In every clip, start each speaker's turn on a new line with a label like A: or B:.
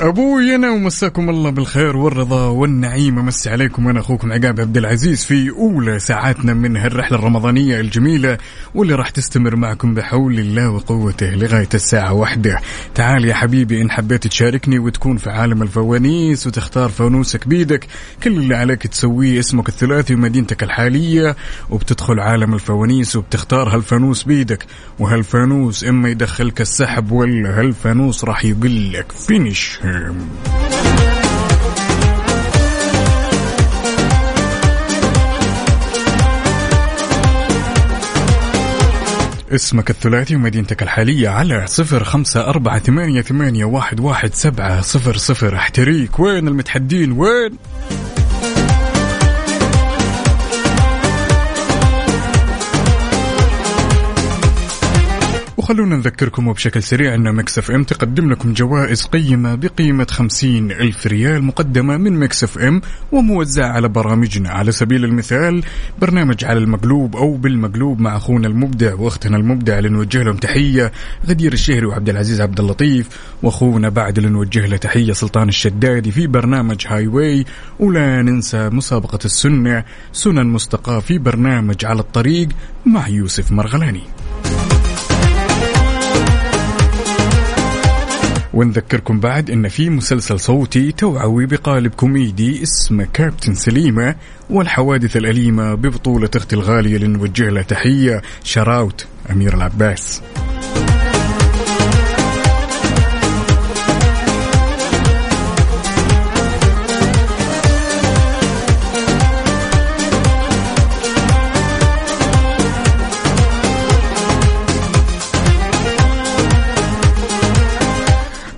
A: ابوي انا ومساكم الله بالخير والرضا والنعيم امسي عليكم انا اخوكم عقاب عبد العزيز في اولى ساعاتنا من هالرحله الرمضانيه الجميله واللي راح تستمر معكم بحول الله وقوته لغايه الساعه واحدة تعال يا حبيبي ان حبيت تشاركني وتكون في عالم الفوانيس وتختار فانوسك بيدك كل اللي عليك تسويه اسمك الثلاثي ومدينتك الحاليه وبتدخل عالم الفوانيس وبتختار هالفانوس بيدك وهالفانوس اما يدخلك السحب ولا هالفانوس راح يقول لك فينيش هيم اسمك الثلاثي ومدينتك الحالية على صفر خمسة أربعة ثمانية, ثمانية واحد, واحد سبعة صفر صفر احتريك وين المتحدين وين وخلونا نذكركم وبشكل سريع أن مكس اف ام تقدم لكم جوائز قيمة بقيمة 50 ألف ريال مقدمة من مكس اف ام وموزعة على برامجنا على سبيل المثال برنامج على المقلوب أو بالمقلوب مع أخونا المبدع وأختنا المبدع اللي نوجه لهم تحية غدير الشهري وعبد العزيز عبد اللطيف وأخونا بعد اللي نوجه له تحية سلطان الشدادي في برنامج هاي واي ولا ننسى مسابقة السنة سنن مستقاة في برنامج على الطريق مع يوسف مرغلاني ونذكركم بعد ان في مسلسل صوتي توعوي بقالب كوميدي اسمه كابتن سليمه والحوادث الاليمه ببطوله اختي الغاليه اللي نوجه لها تحيه شراوت امير العباس.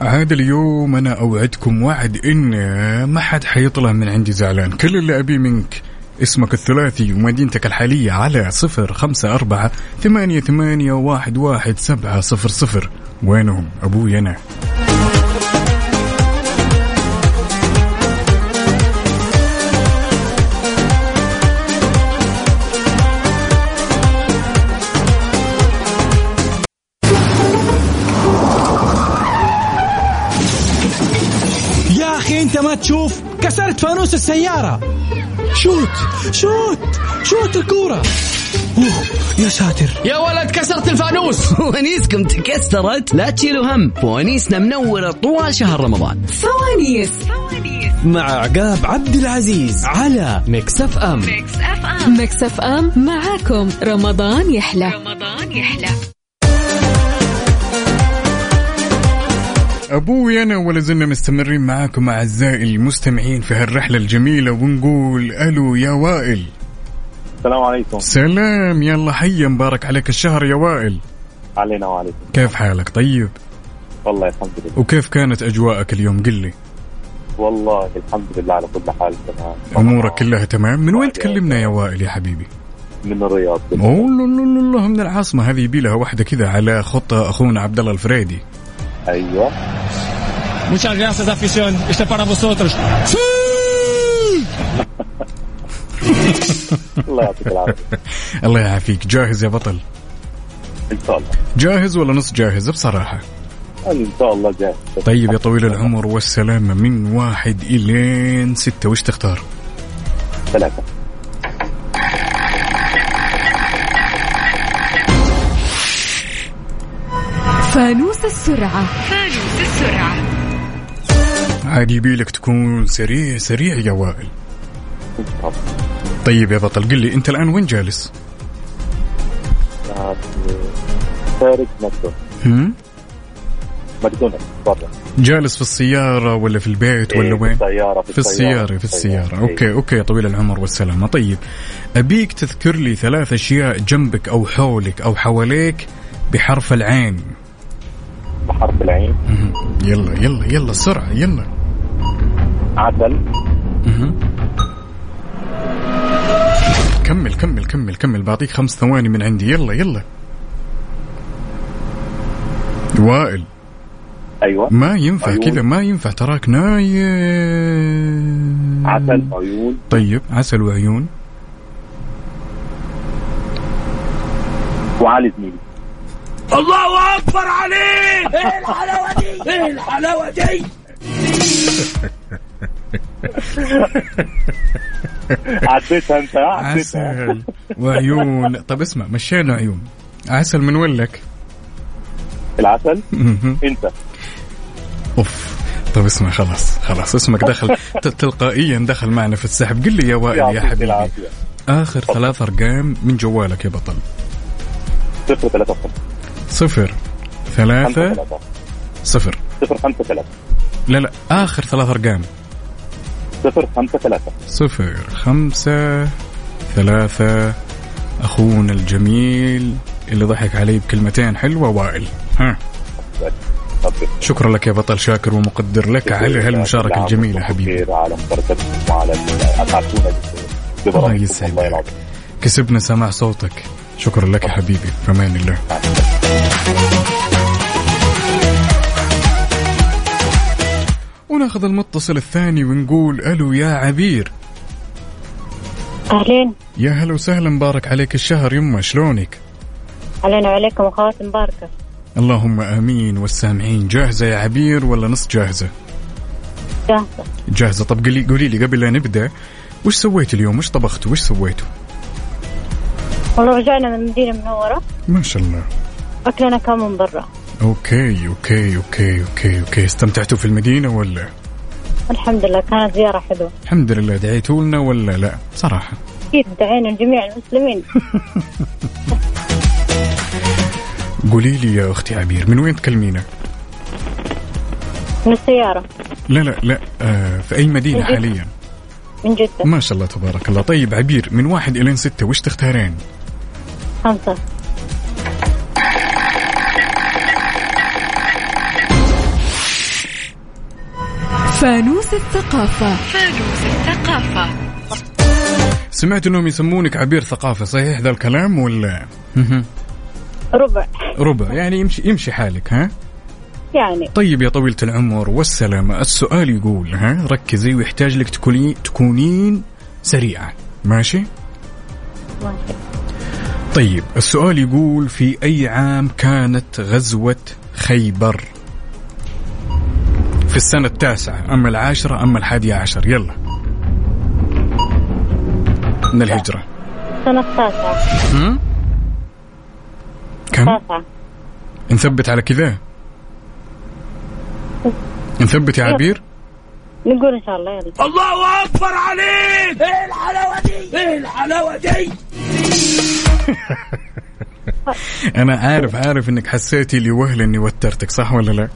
A: عاد اليوم انا اوعدكم وعد ان ما حد حيطلع من عندي زعلان كل اللي ابيه منك اسمك الثلاثي ومدينتك الحالية على صفر خمسة أربعة ثمانية, ثمانية واحد, واحد سبعة صفر صفر وينهم أبوي أنا
B: يا اخي انت ما تشوف كسرت فانوس السياره شوت شوت شوت الكوره اوه يا ساتر
C: يا ولد كسرت الفانوس
D: فوانيسكم تكسرت لا تشيلوا هم فوانيسنا منورة طوال شهر رمضان
E: فوانيس
B: مع عقاب عبد العزيز على ميكس اف ام
E: ميكس اف ام معاكم رمضان يحلى
A: ابوي انا ولا زلنا مستمرين معاكم اعزائي المستمعين في هالرحله الجميله ونقول الو يا وائل
F: السلام عليكم
A: سلام يلا حي مبارك عليك الشهر يا وائل
F: علينا وعليكم
A: كيف حالك طيب
F: والله الحمد لله
A: وكيف كانت اجواءك اليوم قل لي
F: والله الحمد لله على كل حال تمام
A: امورك كلها تمام من وين تكلمنا يا وائل يا حبيبي
F: من الرياض
A: اوه الله من العاصمه هذه يبي لها واحده كذا على خطه اخونا عبد الله الفريدي
F: ايوه
B: Muchas gracias afición este para vosotros
F: الله يعطيك العافيه
A: الله يعافيك جاهز يا بطل
F: ان شاء الله
A: جاهز ولا نص جاهز بصراحه
F: ان شاء الله جاهز
A: طيب يا طويل العمر والسلامه من واحد الين سته وش تختار
F: ثلاثه
E: فانوس السرعة
A: عاد يبيلك تكون سريع سريع يا وائل
F: ان شاء الله
A: طيب يا بطل قل لي انت الان وين جالس
F: آه، خارج مكتب
A: هم؟
F: ماكدونالدز برا
A: جالس في السياره ولا في البيت ولا
F: إيه،
A: وين
F: السيارة
A: في السيارة في السيارة إيه. اوكي اوكي يا طويل العمر والسلامة طيب ابيك تذكر لي ثلاث اشياء جنبك او حولك او حواليك بحرف العين
F: إيه، بحرف العين
A: مهم. يلا يلا يلا سرعة يلا
F: عسل
A: مهم. كمل كمل كمل كمل بعطيك خمس ثواني من عندي يلا يلا وائل
F: ايوه
A: ما ينفع
F: عيون.
A: كذا ما ينفع تراك نايم
F: عسل عيون
A: طيب عسل وعيون
F: وعلي زميلي
A: إيه
F: عديتها انت عديتها
A: عسل وعيون طب اسمع مشينا عيون عسل من وين لك؟
F: العسل
A: مهم.
F: انت
A: اوف طب اسمع خلاص خلاص اسمك دخل ت- تلقائيا دخل معنا في السحب قل لي يا وائل يا
F: يعطيك
A: حبيبي
F: العافيه
A: اخر ثلاث ارقام من جوالك يا بطل
F: صفر ثلاثة صفر
A: صفر
F: خمسة
A: ثلاثة
F: ثلاثة
A: صفر
F: صفر خمسة ثلاثة
A: لا لا اخر ثلاث ارقام
F: صفر خمسة ثلاثة
A: صفر خمسة ثلاثة أخونا الجميل اللي ضحك علي بكلمتين حلوة وائل ها
F: طب-
A: شكرا لك يا بطل شاكر ومقدر لك على هالمشاركة
F: بالعافية.
A: الجميلة حبيبي
F: كثير على مشاركتكم وعلى أتعطونا
A: الله يسعدك كسبنا سماع صوتك شكرا لك يا حبيبي في امان الله وناخذ المتصل الثاني ونقول الو يا عبير
G: أهلين
A: يا هلا وسهلا مبارك عليك الشهر يمه شلونك
G: أهلين وعليكم أخوات مباركة
A: اللهم امين والسامعين جاهزه يا عبير ولا نص جاهزه
G: جاهزة
A: جاهزه طب قولي قولي لي قبل لا نبدا وش سويت اليوم وش طبخت وش سويتوا
G: والله رجعنا من المدينة المنورة
A: ما شاء الله
G: أكلنا كان من برا
A: اوكي اوكي اوكي اوكي اوكي استمتعتوا في المدينه ولا
G: الحمد لله كانت زيارة حلوة
A: الحمد لله دعيتوا لنا ولا لا صراحه
G: أكيد دعينا جميع المسلمين
A: قولي لي يا اختي عبير من وين تكلمينا
G: من السيارة
A: لا لا لا آه في اي مدينه
G: جدة.
A: حاليا
G: من جدة
A: ما شاء الله تبارك الله طيب عبير من واحد الين ستة وش تختارين
G: خمسة
E: فانوس الثقافة
A: سمعت انهم يسمونك عبير ثقافه صحيح ذا الكلام ولا مهم.
G: ربع
A: ربع يعني يمشي يمشي حالك ها
G: يعني
A: طيب يا طويلة العمر والسلامة السؤال يقول ها ركزي ويحتاج لك تكوني تكونين سريعة ماشي
G: ماشي
A: طيب السؤال يقول في أي عام كانت غزوة خيبر في السنة التاسعة أما العاشرة أما الحادية عشر يلا من الهجرة
G: السنة التاسعة
A: هم؟ كم
G: التاسعة
A: نثبت على كذا نثبت يا عبير
G: نقول إن شاء الله يلا
A: انا عارف عارف انك حسيتي لي وهله اني وترتك صح ولا لا؟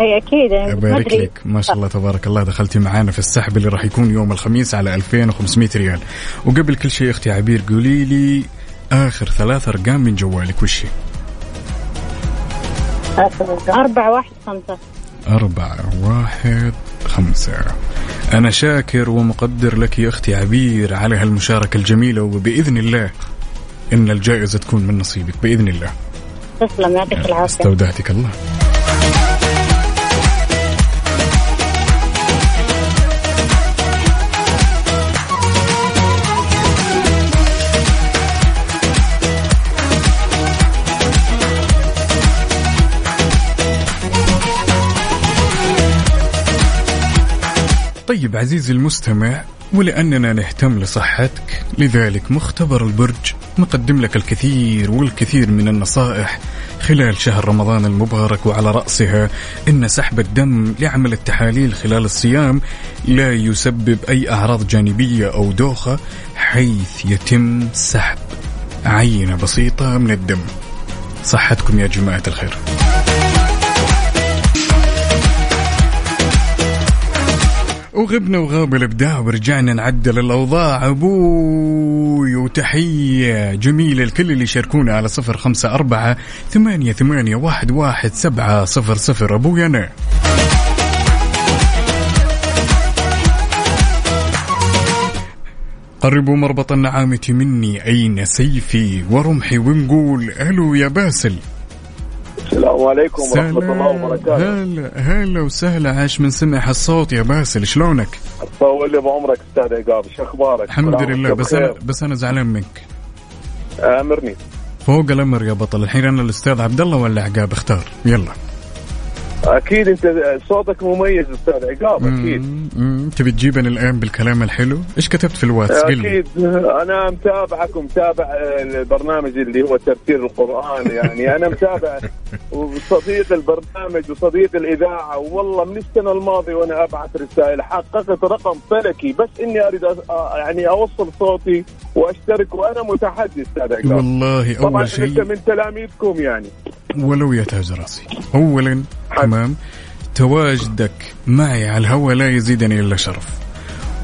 G: أي أكيد يعني ما
A: ابارك
G: أدري.
A: لك ما شاء الله تبارك الله دخلتي معانا في السحب اللي راح يكون يوم الخميس على 2500 ريال وقبل كل شيء اختي عبير قولي لي اخر ثلاث ارقام من جوالك وش هي؟
G: أربعة واحد خمسة
A: أربعة واحد خمسة أنا شاكر ومقدر لك يا أختي عبير على هالمشاركة الجميلة وبإذن الله إن الجائزة تكون من نصيبك بإذن الله
G: تسلم يعطيك العافية
A: استودعتك الله طيب عزيزي المستمع ولأننا نهتم لصحتك لذلك مختبر البرج مقدم لك الكثير والكثير من النصائح خلال شهر رمضان المبارك وعلى رأسها إن سحب الدم لعمل التحاليل خلال الصيام لا يسبب أي أعراض جانبية أو دوخة حيث يتم سحب عينة بسيطة من الدم صحتكم يا جماعة الخير وغبنا وغاب الابداع ورجعنا نعدل الاوضاع ابوي وتحيه جميله لكل اللي يشاركونا على صفر خمسه اربعه ثمانيه ثمانيه واحد واحد سبعه صفر صفر ابوي انا قربوا مربط النعامة مني أين سيفي ورمحي ونقول ألو يا باسل
F: السلام عليكم ورحمة الله وبركاته
A: هلا هلا وسهلا عاش من سمع هالصوت يا باسل شلونك؟
F: طول لي بعمرك استاذ عقاب شو اخبارك؟
A: الحمد
F: سلامتك
A: لله بس انا
F: بخير.
A: بس انا زعلان منك
F: امرني
A: فوق الامر يا بطل الحين انا الاستاذ عبد الله ولا عقاب اختار يلا
F: اكيد انت صوتك مميز استاذ عقاب اكيد
A: مم، مم، تبي تجيبنا الان بالكلام الحلو ايش كتبت في الواتس قل لي.
F: اكيد انا متابعك ومتابع البرنامج اللي هو تفسير القران يعني انا متابع وصديق البرنامج وصديق الاذاعه والله من السنه الماضيه وانا ابعث رسائل حققت رقم فلكي بس اني اريد أ- يعني اوصل صوتي واشترك وانا متحدي استاذ عقاب
A: والله
F: طبعا
A: اول
F: انت
A: شيء
F: من تلاميذكم يعني
A: ولو يا تاج راسي اولا تمام تواجدك معي على الهواء لا يزيدني الا شرف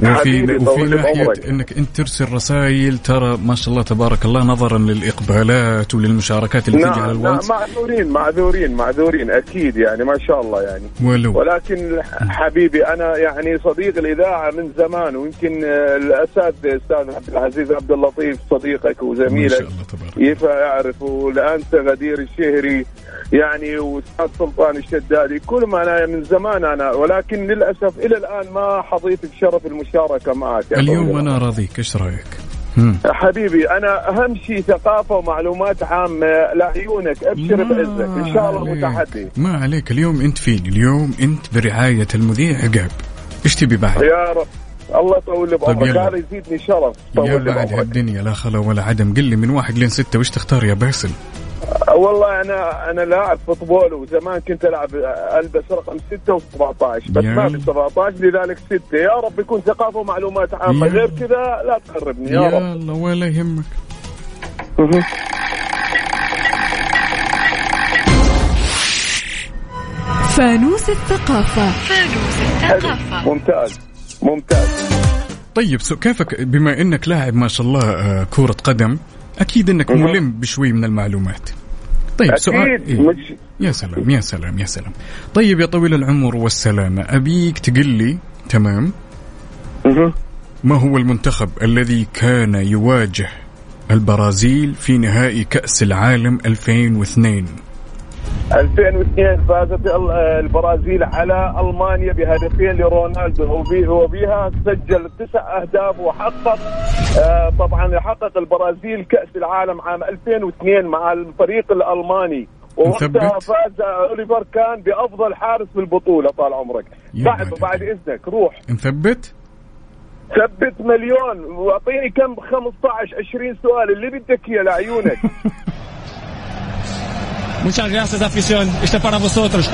A: وفي
F: حبيبي،
A: وفي
F: طول
A: ناحيه
F: بعمرك.
A: انك انت ترسل رسائل ترى ما شاء الله تبارك الله نظرا للاقبالات وللمشاركات اللي تجي على
F: نعم نعم
A: الواتس
F: معذورين معذورين معذورين اكيد يعني ما شاء الله يعني
A: ولو
F: ولكن حبيبي انا يعني صديق الاذاعه من زمان ويمكن آه، الاسد استاذ عبد العزيز عبد اللطيف صديقك
A: ما
F: وزميلك
A: شاء الله تبارك الله.
F: يفا يعرف والانسه غدير الشهري يعني واستاذ سلطان الشدادي كل ما انا من زمان انا ولكن للاسف الى الان ما حظيت بشرف المشاركه معك يا
A: اليوم
F: طويل
A: انا راضيك ايش رايك؟ مم.
F: حبيبي انا اهم شيء ثقافه ومعلومات عامه لعيونك ابشر بعزك ان شاء الله
A: ما عليك.
F: متحدي
A: ما عليك اليوم انت فيني اليوم انت برعايه المذيع عقاب ايش تبي بعد؟
F: يا رب الله يطول لي بعمرك
A: طيب، يلا.
F: هذا يزيدني شرف
A: يا
F: يطول لي
A: بعد
F: بعمرك
A: هالدنيا لا خلا ولا عدم قل لي من واحد لين ستة وش تختار يا باسل
F: والله انا انا لاعب فوتبول وزمان كنت العب البس رقم 6 و17 بس
A: يا.
F: ما في 17 لذلك 6 يا رب يكون ثقافه ومعلومات عامه
A: يا.
F: غير كذا لا تقربني يا, رب
A: يلا ولا يهمك
E: فانوس الثقافة
F: ممتاز ممتاز
A: طيب سو كيفك بما انك لاعب ما شاء الله آه، كرة قدم اكيد انك ملم بشوي من المعلومات طيب سؤال
F: اكيد
A: إيه؟
F: مش
A: يا سلام يا سلام يا سلام طيب يا طويل العمر والسلامة أبيك تقل لي تمام
F: مهم.
A: ما هو المنتخب الذي كان يواجه البرازيل في نهائي كأس العالم 2002
F: 2002 فازت ال- البرازيل على المانيا بهدفين لرونالدو وبي- وبها سجل تسع اهداف وحقق آه، طبعا حقق البرازيل كاس العالم عام 2002 مع الفريق الالماني ووقتها
A: مثبت.
F: فاز اوليفر كان بافضل حارس في البطوله طال عمرك
A: يا
F: بعد
A: بعد
F: بعد
A: الإذن.
F: اذنك روح
A: نثبت
F: ثبت مليون واعطيني كم 15 20 سؤال اللي بدك اياه لعيونك
B: Muchas gracias, afición. Este para vosotros.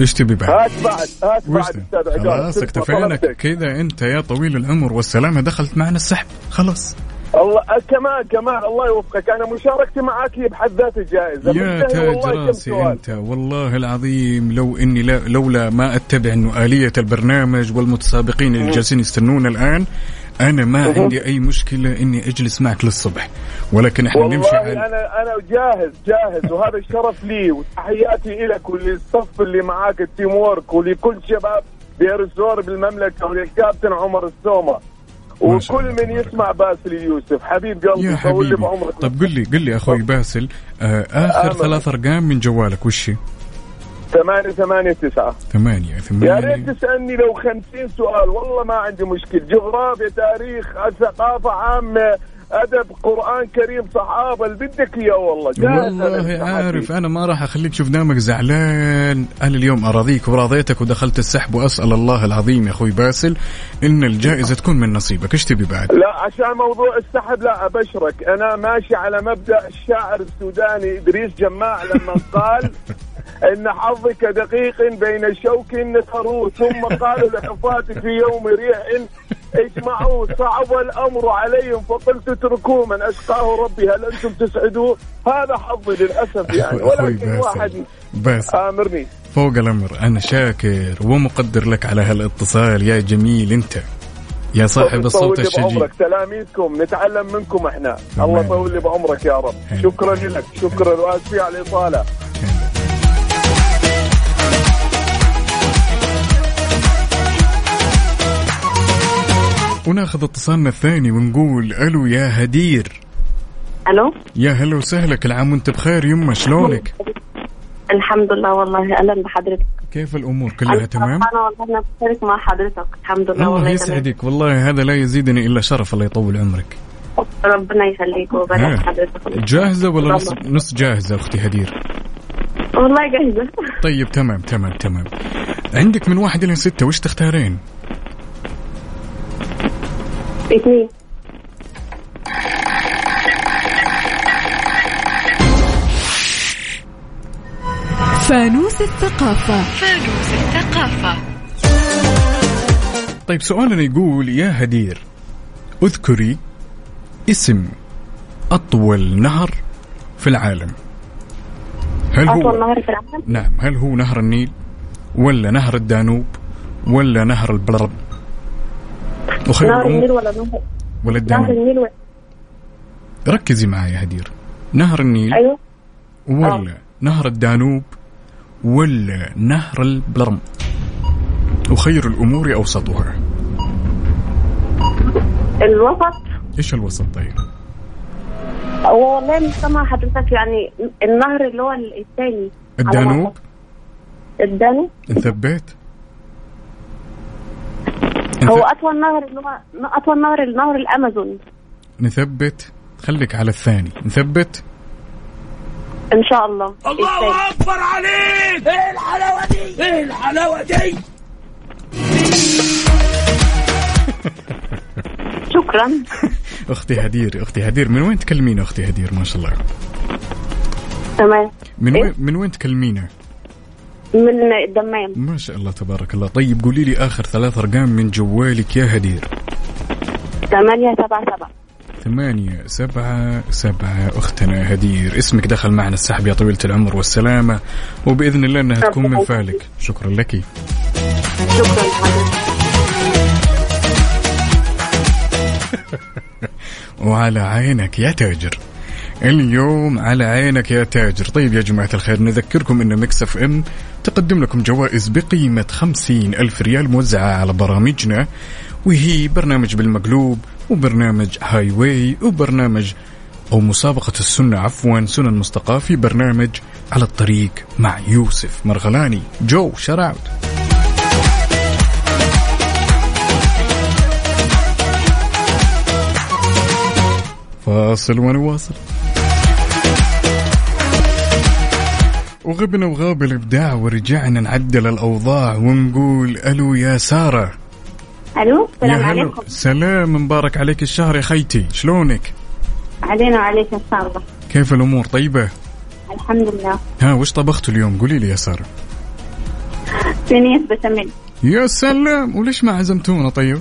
A: ايش تبي بعد
F: هات بعد هات
A: وش
F: بعد
A: تبي؟
F: استاذ عقاب.
A: خلاص
F: تسمع
A: اكتفينا
F: طلبتك.
A: كذا انت يا طويل العمر والسلامة دخلت معنا السحب خلاص
F: الله كمان كمان الله يوفقك انا مشاركتي معك هي بحد ذاتها جائزه
A: يا
F: منتهي
A: تاج
F: والله كم
A: راسي
F: سؤال.
A: انت والله العظيم لو اني لا لولا ما اتبع انه اليه البرنامج والمتسابقين اللي جالسين يستنونا الان انا ما عندي اي مشكله اني اجلس معك للصبح ولكن احنا نمشي
F: والله
A: على
F: انا انا جاهز جاهز وهذا الشرف لي وتحياتي لك وللصف اللي معاك التيم وورك ولكل شباب دير الزور بالمملكه وللكابتن عمر السومه
A: ما شاء
F: وكل
A: الله
F: من
A: تبارك
F: يسمع باسل يوسف حبيب
A: يا
F: قلبي طول لي
A: حبيبي
F: بعمرك أه.
A: طب قل لي قل لي اخوي باسل آه اخر
F: آمل.
A: ثلاث ارقام من جوالك وش هي؟
F: 8 8 9
A: ثمانية
F: يا ريت
A: ثمانية
F: تسالني لو خمسين سؤال والله ما عندي مشكل جغرافيا تاريخ ثقافه عامه ادب قران كريم صحابه اللي بدك اياه والله جاهز
A: والله
F: أنا
A: عارف
F: مستعد.
A: انا ما راح اخليك شوف دامك زعلان انا اليوم اراضيك وراضيتك ودخلت السحب واسال الله العظيم يا اخوي باسل ان الجائزه تكون من نصيبك ايش تبي بعد
F: لا عشان موضوع السحب لا ابشرك انا ماشي على مبدا الشاعر السوداني ادريس جماع لما قال ان حظك دقيق بين شوك نثروه ثم قال لحفاتي في يوم ريح اجمعوا صعب الامر عليهم فقلت اتركوه من اشقاه ربي هل انتم تسعدوه هذا حظي للاسف يعني
A: أخوي- أخوي
F: ولكن
A: باسل
F: واحد آه.
A: باسل
F: امرني
A: فوق الامر انا شاكر ومقدر لك على هالاتصال يا جميل انت يا صاحب الصوت
F: طيب، طول لي
A: الشجي
F: بعمرك تلاميذكم نتعلم منكم احنا الله
A: تمام.
F: يطول لي بعمرك يا رب
A: حلو.
F: شكرا لك شكرا واسفي على الاطاله
A: وناخذ اتصالنا الثاني ونقول الو يا هدير
H: الو
A: يا هلا وسهلا كل عام وانت بخير يما شلونك
H: الحمد لله والله اهلا بحضرتك
A: كيف الامور كلها تمام
H: انا والله انا بشارك مع حضرتك الحمد لله
A: الله
H: والله
A: يسعدك والله هذا لا يزيدني الا شرف الله يطول عمرك
H: تمام. ربنا يخليك ويبارك
A: ها.
H: حضرتك
A: جاهزه إيه. ولا نص
H: طبعاً.
A: نص جاهزه اختي هدير
H: والله جاهزة
A: طيب تمام تمام تمام عندك من واحد إلى ستة وش تختارين؟
H: اثنين
E: فانوس الثقافة
A: طيب سؤالنا يقول يا هدير اذكري اسم أطول نهر في العالم هل هو
H: أطول نهر في العالم
A: نعم هل هو نهر النيل ولا نهر الدانوب ولا نهر البلرب وخير
H: نهر النيل
A: الأمور
H: ولا نهر
A: ولا
H: نهر
A: الدانوب
H: النيل ولا
A: ركزي معي يا هدير نهر النيل
H: أيوه
A: ولا نهر الدانوب ولا نهر البلرم وخير الأمور أوسطها
H: الوسط
A: إيش الوسط طيب
H: هو والله مش سامعة حضرتك يعني النهر اللي هو الثاني على ما
A: الدانوب
H: أعتقد. الدانوب
A: انثبت
H: هو أطول نهر اللي هو أطول نهر النهر الأمازون
A: نثبت خليك على الثاني نثبت
H: إن شاء الله الثاني. شكرا
A: اختي هدير اختي هدير من وين تكلمينا اختي هدير ما شاء الله
H: تمام
A: من
H: إيه؟
A: وين من وين تكلمينا
H: من الدمام
A: ما شاء الله تبارك الله طيب قولي لي اخر ثلاث ارقام من جوالك يا هدير
H: ثمانية سبعة سبعة
A: ثمانية سبعة سبعة أختنا هدير اسمك دخل معنا السحب يا طويلة العمر والسلامة وبإذن الله أنها تكون من فالك شكرا لك
H: شكرا حضرتك
A: وعلى عينك يا تاجر اليوم على عينك يا تاجر طيب يا جماعة الخير نذكركم أن ميكس اف ام تقدم لكم جوائز بقيمة خمسين ألف ريال موزعة على برامجنا وهي برنامج بالمقلوب وبرنامج هاي واي وبرنامج أو مسابقة السنة عفوا سنن مستقى في برنامج على الطريق مع يوسف مرغلاني جو شراوت فاصل ونواصل وغبنا وغاب الابداع ورجعنا نعدل الاوضاع ونقول الو يا ساره
H: ألو السلام
A: يا هلا.
H: عليكم
A: سلام مبارك عليك الشهر يا خيتي شلونك
H: علينا وعليك إن شاء الله
A: كيف الامور طيبه
H: الحمد لله
A: ها وش طبختوا اليوم قولي لي يا ساره
H: صينية بشاميل
A: يا سلام وليش ما عزمتونا طيب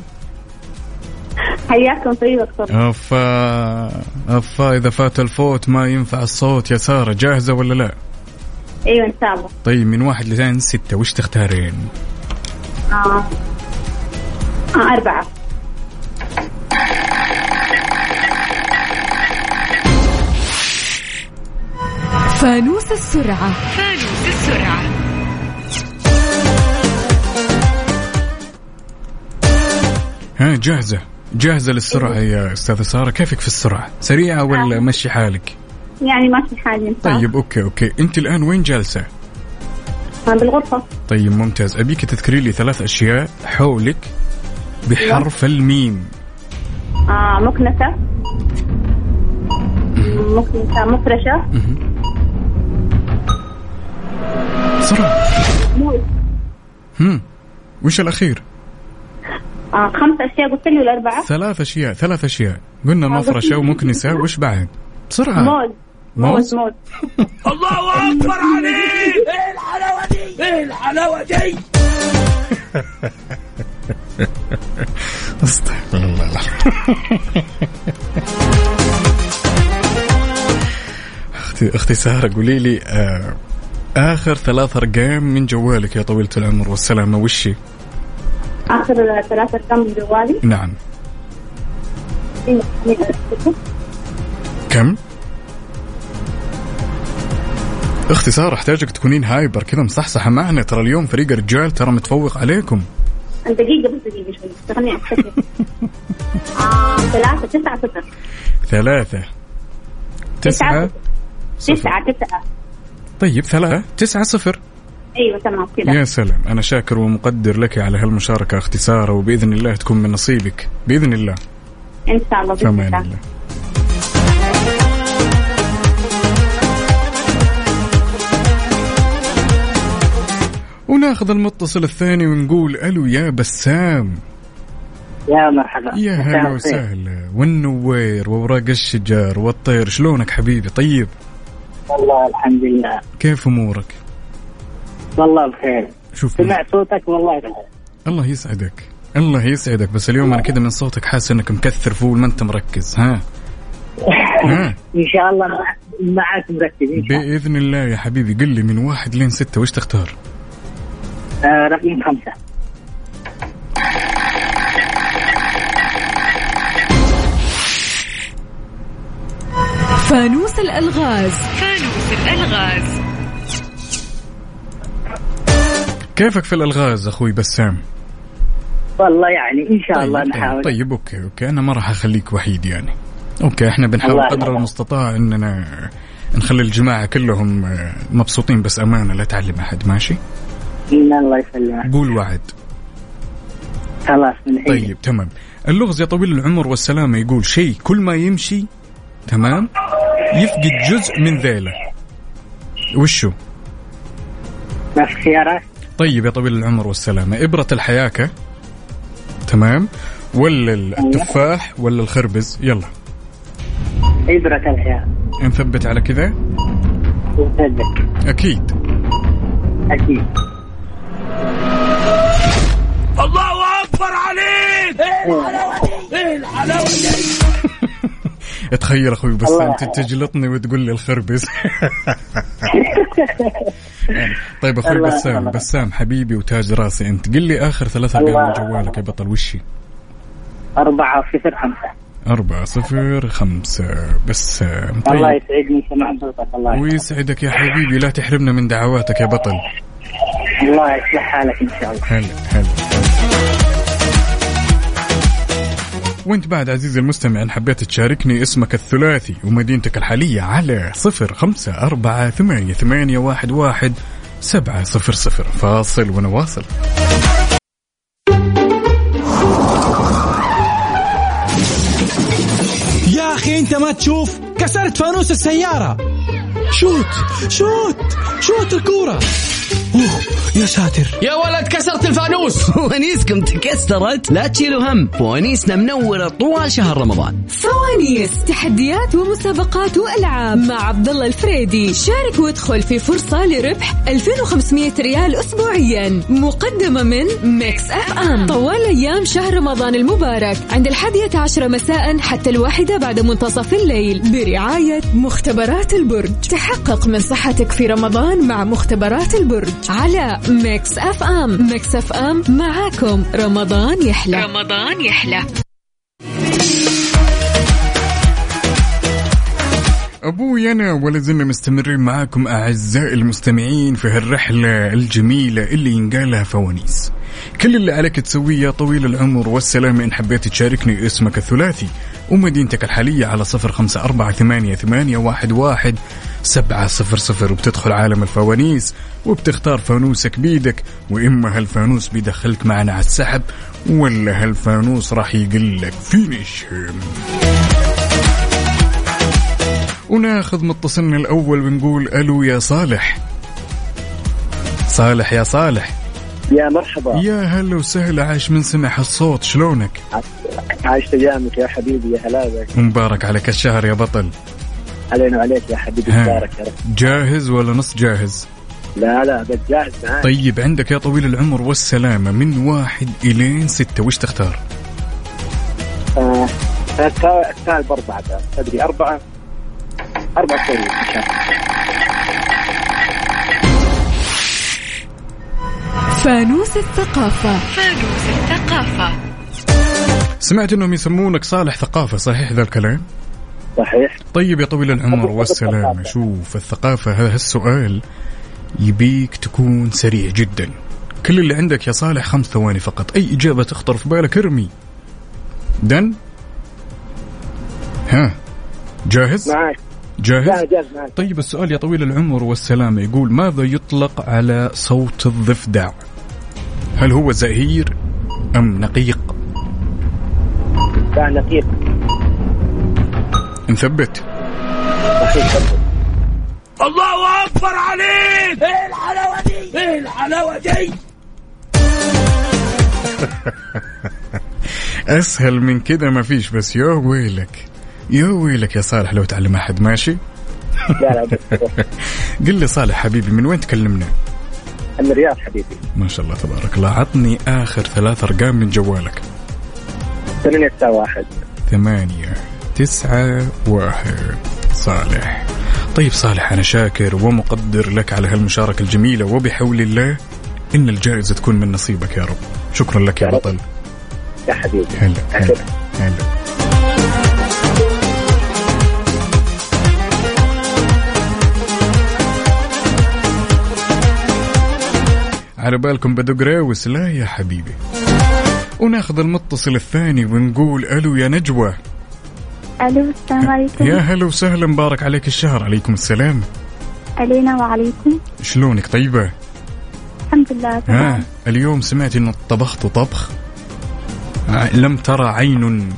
H: حياكم طيب طيبة دكتور
A: افا افا اذا فات الفوت ما ينفع الصوت يا ساره جاهزه ولا لا
H: أيوة إن شاء الله
A: طيب من واحد لين ستة وش تختارين
H: آه.
A: أه.
H: آه أربعة
E: فانوس السرعة
A: ها جاهزة جاهزة للسرعة يا أستاذة سارة كيفك في السرعة سريعة ولا مشي حالك
H: يعني ماشي حالي إن شاء الله
A: طيب أوكي أوكي أنت الآن وين جالسة
H: أنا آه، بالغرفة
A: طيب ممتاز أبيك تذكري لي ثلاث أشياء حولك بحرف الميم
H: آه مكنسة مكنسة مفرشة
A: بسرعة
H: موز
A: هم وش الأخير
H: آه خمس أشياء قلت لي ولا أربعة
A: ثلاث أشياء ثلاث أشياء قلنا مفرشة ومكنسة وش بعد بسرعة
H: موز موز موز
A: استغفر الله العظيم اختي اختي ساره قولي لي آه اخر ثلاث ارقام من جوالك يا طويله العمر والسلامه وشي
H: آخر ثلاثة أرقام من جوالي
A: نعم
H: إيه.
A: كم اختي ساره احتاجك تكونين هايبر كذا مصحصحه معنا ترى اليوم فريق الرجال ترى متفوق عليكم
H: دقيقة بس دقيقة شوي خليني أفتكر آه، ثلاثة تسعة صفر
A: ثلاثه تسعه
H: تسعة
A: صفر
H: تسعة تسعة
A: طيب ثلاثه تسعه صفر
H: أيوة تمام
A: يا
H: كذا
A: سلام أنا شاكر ومقدر لك على هالمشاركة اختي سارة وبإذن الله تكون من نصيبك بإذن الله
H: إن شاء الله
A: في
H: بإذن
A: أمان
H: الله
A: الله وناخذ المتصل الثاني ونقول الو يا بسام
I: يا مرحبا
A: يا هلا وسهلا والنوير ووراق الشجر والطير شلونك حبيبي طيب
I: والله الحمد لله
A: كيف امورك
I: والله بخير
A: شوف
I: سمعت صوتك والله بخير
A: الله يسعدك الله يسعدك بس اليوم انا كذا من صوتك حاسس انك مكثر فول ما انت مركز ها ها
I: ان شاء الله مع- معك مركز ان شاء الله
A: باذن الله يا حبيبي قل لي من واحد لين ستة وش تختار
I: آه، رقم خمسه
E: فانوس الألغاز
A: كيفك في الالغاز اخوي بسام
I: والله يعني ان شاء الله
A: طيب،
I: نحاول
A: طيب اوكي اوكي انا ما راح اخليك وحيد يعني اوكي احنا بنحاول
I: الله
A: قدر
I: يحفظك.
A: المستطاع اننا نخلي الجماعة كلهم آه، مبسوطين بس أمانة لا تعلم أحد ماشي
I: إن الله يسلمك
A: قول وعد
I: خلاص من
G: إيه.
I: حين
A: طيب تمام اللغز يا طويل العمر والسلامة يقول شيء كل ما يمشي تمام يفقد جزء من ذيله وشو
I: نفس خيارات
A: طيب يا طويل العمر والسلامة إبرة الحياكة تمام ولا التفاح ولا الخربز يلا
I: ابره الحياه
A: نثبت على كذا
I: وصدق
A: أكيد
I: اكيد
A: تخيل أخوي بس
I: الله
A: أنت
I: يحفظك.
A: تجلطني وتقول لي الخربز يعني طيب أخوي
I: الله
A: بسام
I: يحفظك.
A: بسام حبيبي وتاج راسي أنت قل لي آخر ثلاثة
I: الله
A: أرقام من
I: يحفظك.
A: جوالك يا بطل وشي
I: أربعة صفر خمسة
A: أربعة صفر خمسة بسام
I: الله
A: طيب
I: يسعدني سمع صوتك الله يسعدك.
A: ويسعدك يا حبيبي لا تحرمنا من دعواتك يا بطل
I: الله يصلح حالك إن شاء الله
A: هلا هلا وانت بعد عزيزي المستمع ان حبيت تشاركني اسمك الثلاثي ومدينتك الحالية على صفر خمسة أربعة ثمانية, ثمانية واحد, واحد سبعة صفر صفر فاصل ونواصل
B: يا اخي انت ما تشوف كسرت فانوس السيارة شوت شوت شوت الكورة اوه يا ساتر
C: يا ولد كسرت الفانوس
D: فوانيسكم تكسرت لا تشيلوا هم فوانيسنا منورة طوال شهر رمضان
E: فوانيس تحديات ومسابقات والعاب مع عبد الله الفريدي شارك وادخل في فرصه لربح 2500 ريال اسبوعيا مقدمه من ميكس اف ام طوال ايام شهر رمضان المبارك عند الحادية عشرة مساء حتى الواحدة بعد منتصف الليل برعاية مختبرات البرج تحقق من صحتك في رمضان مع مختبرات البرج على ميكس اف ام ميكس اف ام معاكم رمضان يحلى رمضان يحلى
A: ابوي انا ولا زلنا مستمرين معاكم اعزائي المستمعين في هالرحله الجميله اللي ينقالها فوانيس. كل اللي عليك تسويه يا طويل العمر والسلامه ان حبيت تشاركني اسمك الثلاثي ومدينتك الحاليه على صفر خمسه اربعه ثمانيه, ثمانية واحد, واحد سبعه صفر صفر وبتدخل عالم الفوانيس وبتختار فانوسك بيدك واما هالفانوس بيدخلك معنا على السحب ولا هالفانوس راح يقلك فينيش هيم وناخذ متصلنا الاول ونقول الو يا صالح صالح يا صالح
I: يا مرحبا
A: يا هلا وسهلا عاش من سمع هالصوت شلونك
I: عايش تجامك يا حبيبي يا هلاوي
A: مبارك عليك الشهر يا بطل
I: علينا وعليك يا حبيبي
A: ها.
I: تبارك يا رب
A: جاهز ولا نص جاهز
I: لا لا بس جاهز معاك
A: طيب عندك يا طويل العمر والسلامة من واحد إلين ستة وش تختار
I: آه، أختار- اختار باربعه بعد. تدري اربعه اربعه سوري ان شاء الله
E: فانوس الثقافة
A: سمعت أنهم يسمونك صالح ثقافة صحيح ذا الكلام
I: صحيح
A: طيب يا طويل العمر والسلامة شوف الثقافة هذا السؤال يبيك تكون سريع جدا كل اللي عندك يا صالح خمس ثواني فقط أي إجابة تخطر في بالك ارمي دن ها جاهز
F: نعم.
I: معاك لا
A: جاهز
I: جاهز معاك
A: طيب السؤال يا طويل العمر والسلامة يقول ماذا يطلق على صوت الضفدع هل هو زئير أم نقيق
I: لا نقيق
A: نثبت
I: صحيح
C: الله اكبر عليك ايه الحلاوه دي ايه الحلاوه دي
A: اسهل من كذا ما فيش بس يا ويلك يا ويلك يا صالح لو تعلم احد ماشي
I: لا لا بس
A: قل لي صالح حبيبي من وين تكلمنا
I: من الرياض حبيبي
A: ما شاء الله تبارك الله عطني اخر ثلاث ارقام من جوالك
I: ثمانية تسعة واحد
A: ثمانية تسعة واحد صالح طيب صالح أنا شاكر ومقدر لك على هالمشاركة الجميلة وبحول الله إن الجائزة تكون من نصيبك يا رب شكرا لك يا
I: يا رب.
A: بطل
I: يا حبيبي
A: هلا هلا
I: شكراً.
A: هلا على بالكم بدق راوس لا يا حبيبي وناخذ المتصل الثاني ونقول الو يا نجوى
G: الو السلام عليكم
H: طيب.
A: يا هلا وسهلا مبارك عليك الشهر عليكم السلام
G: علينا وعليكم
A: شلونك طيبه
G: الحمد لله
A: ها
H: آه.
G: تمام
A: اليوم سمعت انك طبخت طبخ ع- لم ترى عين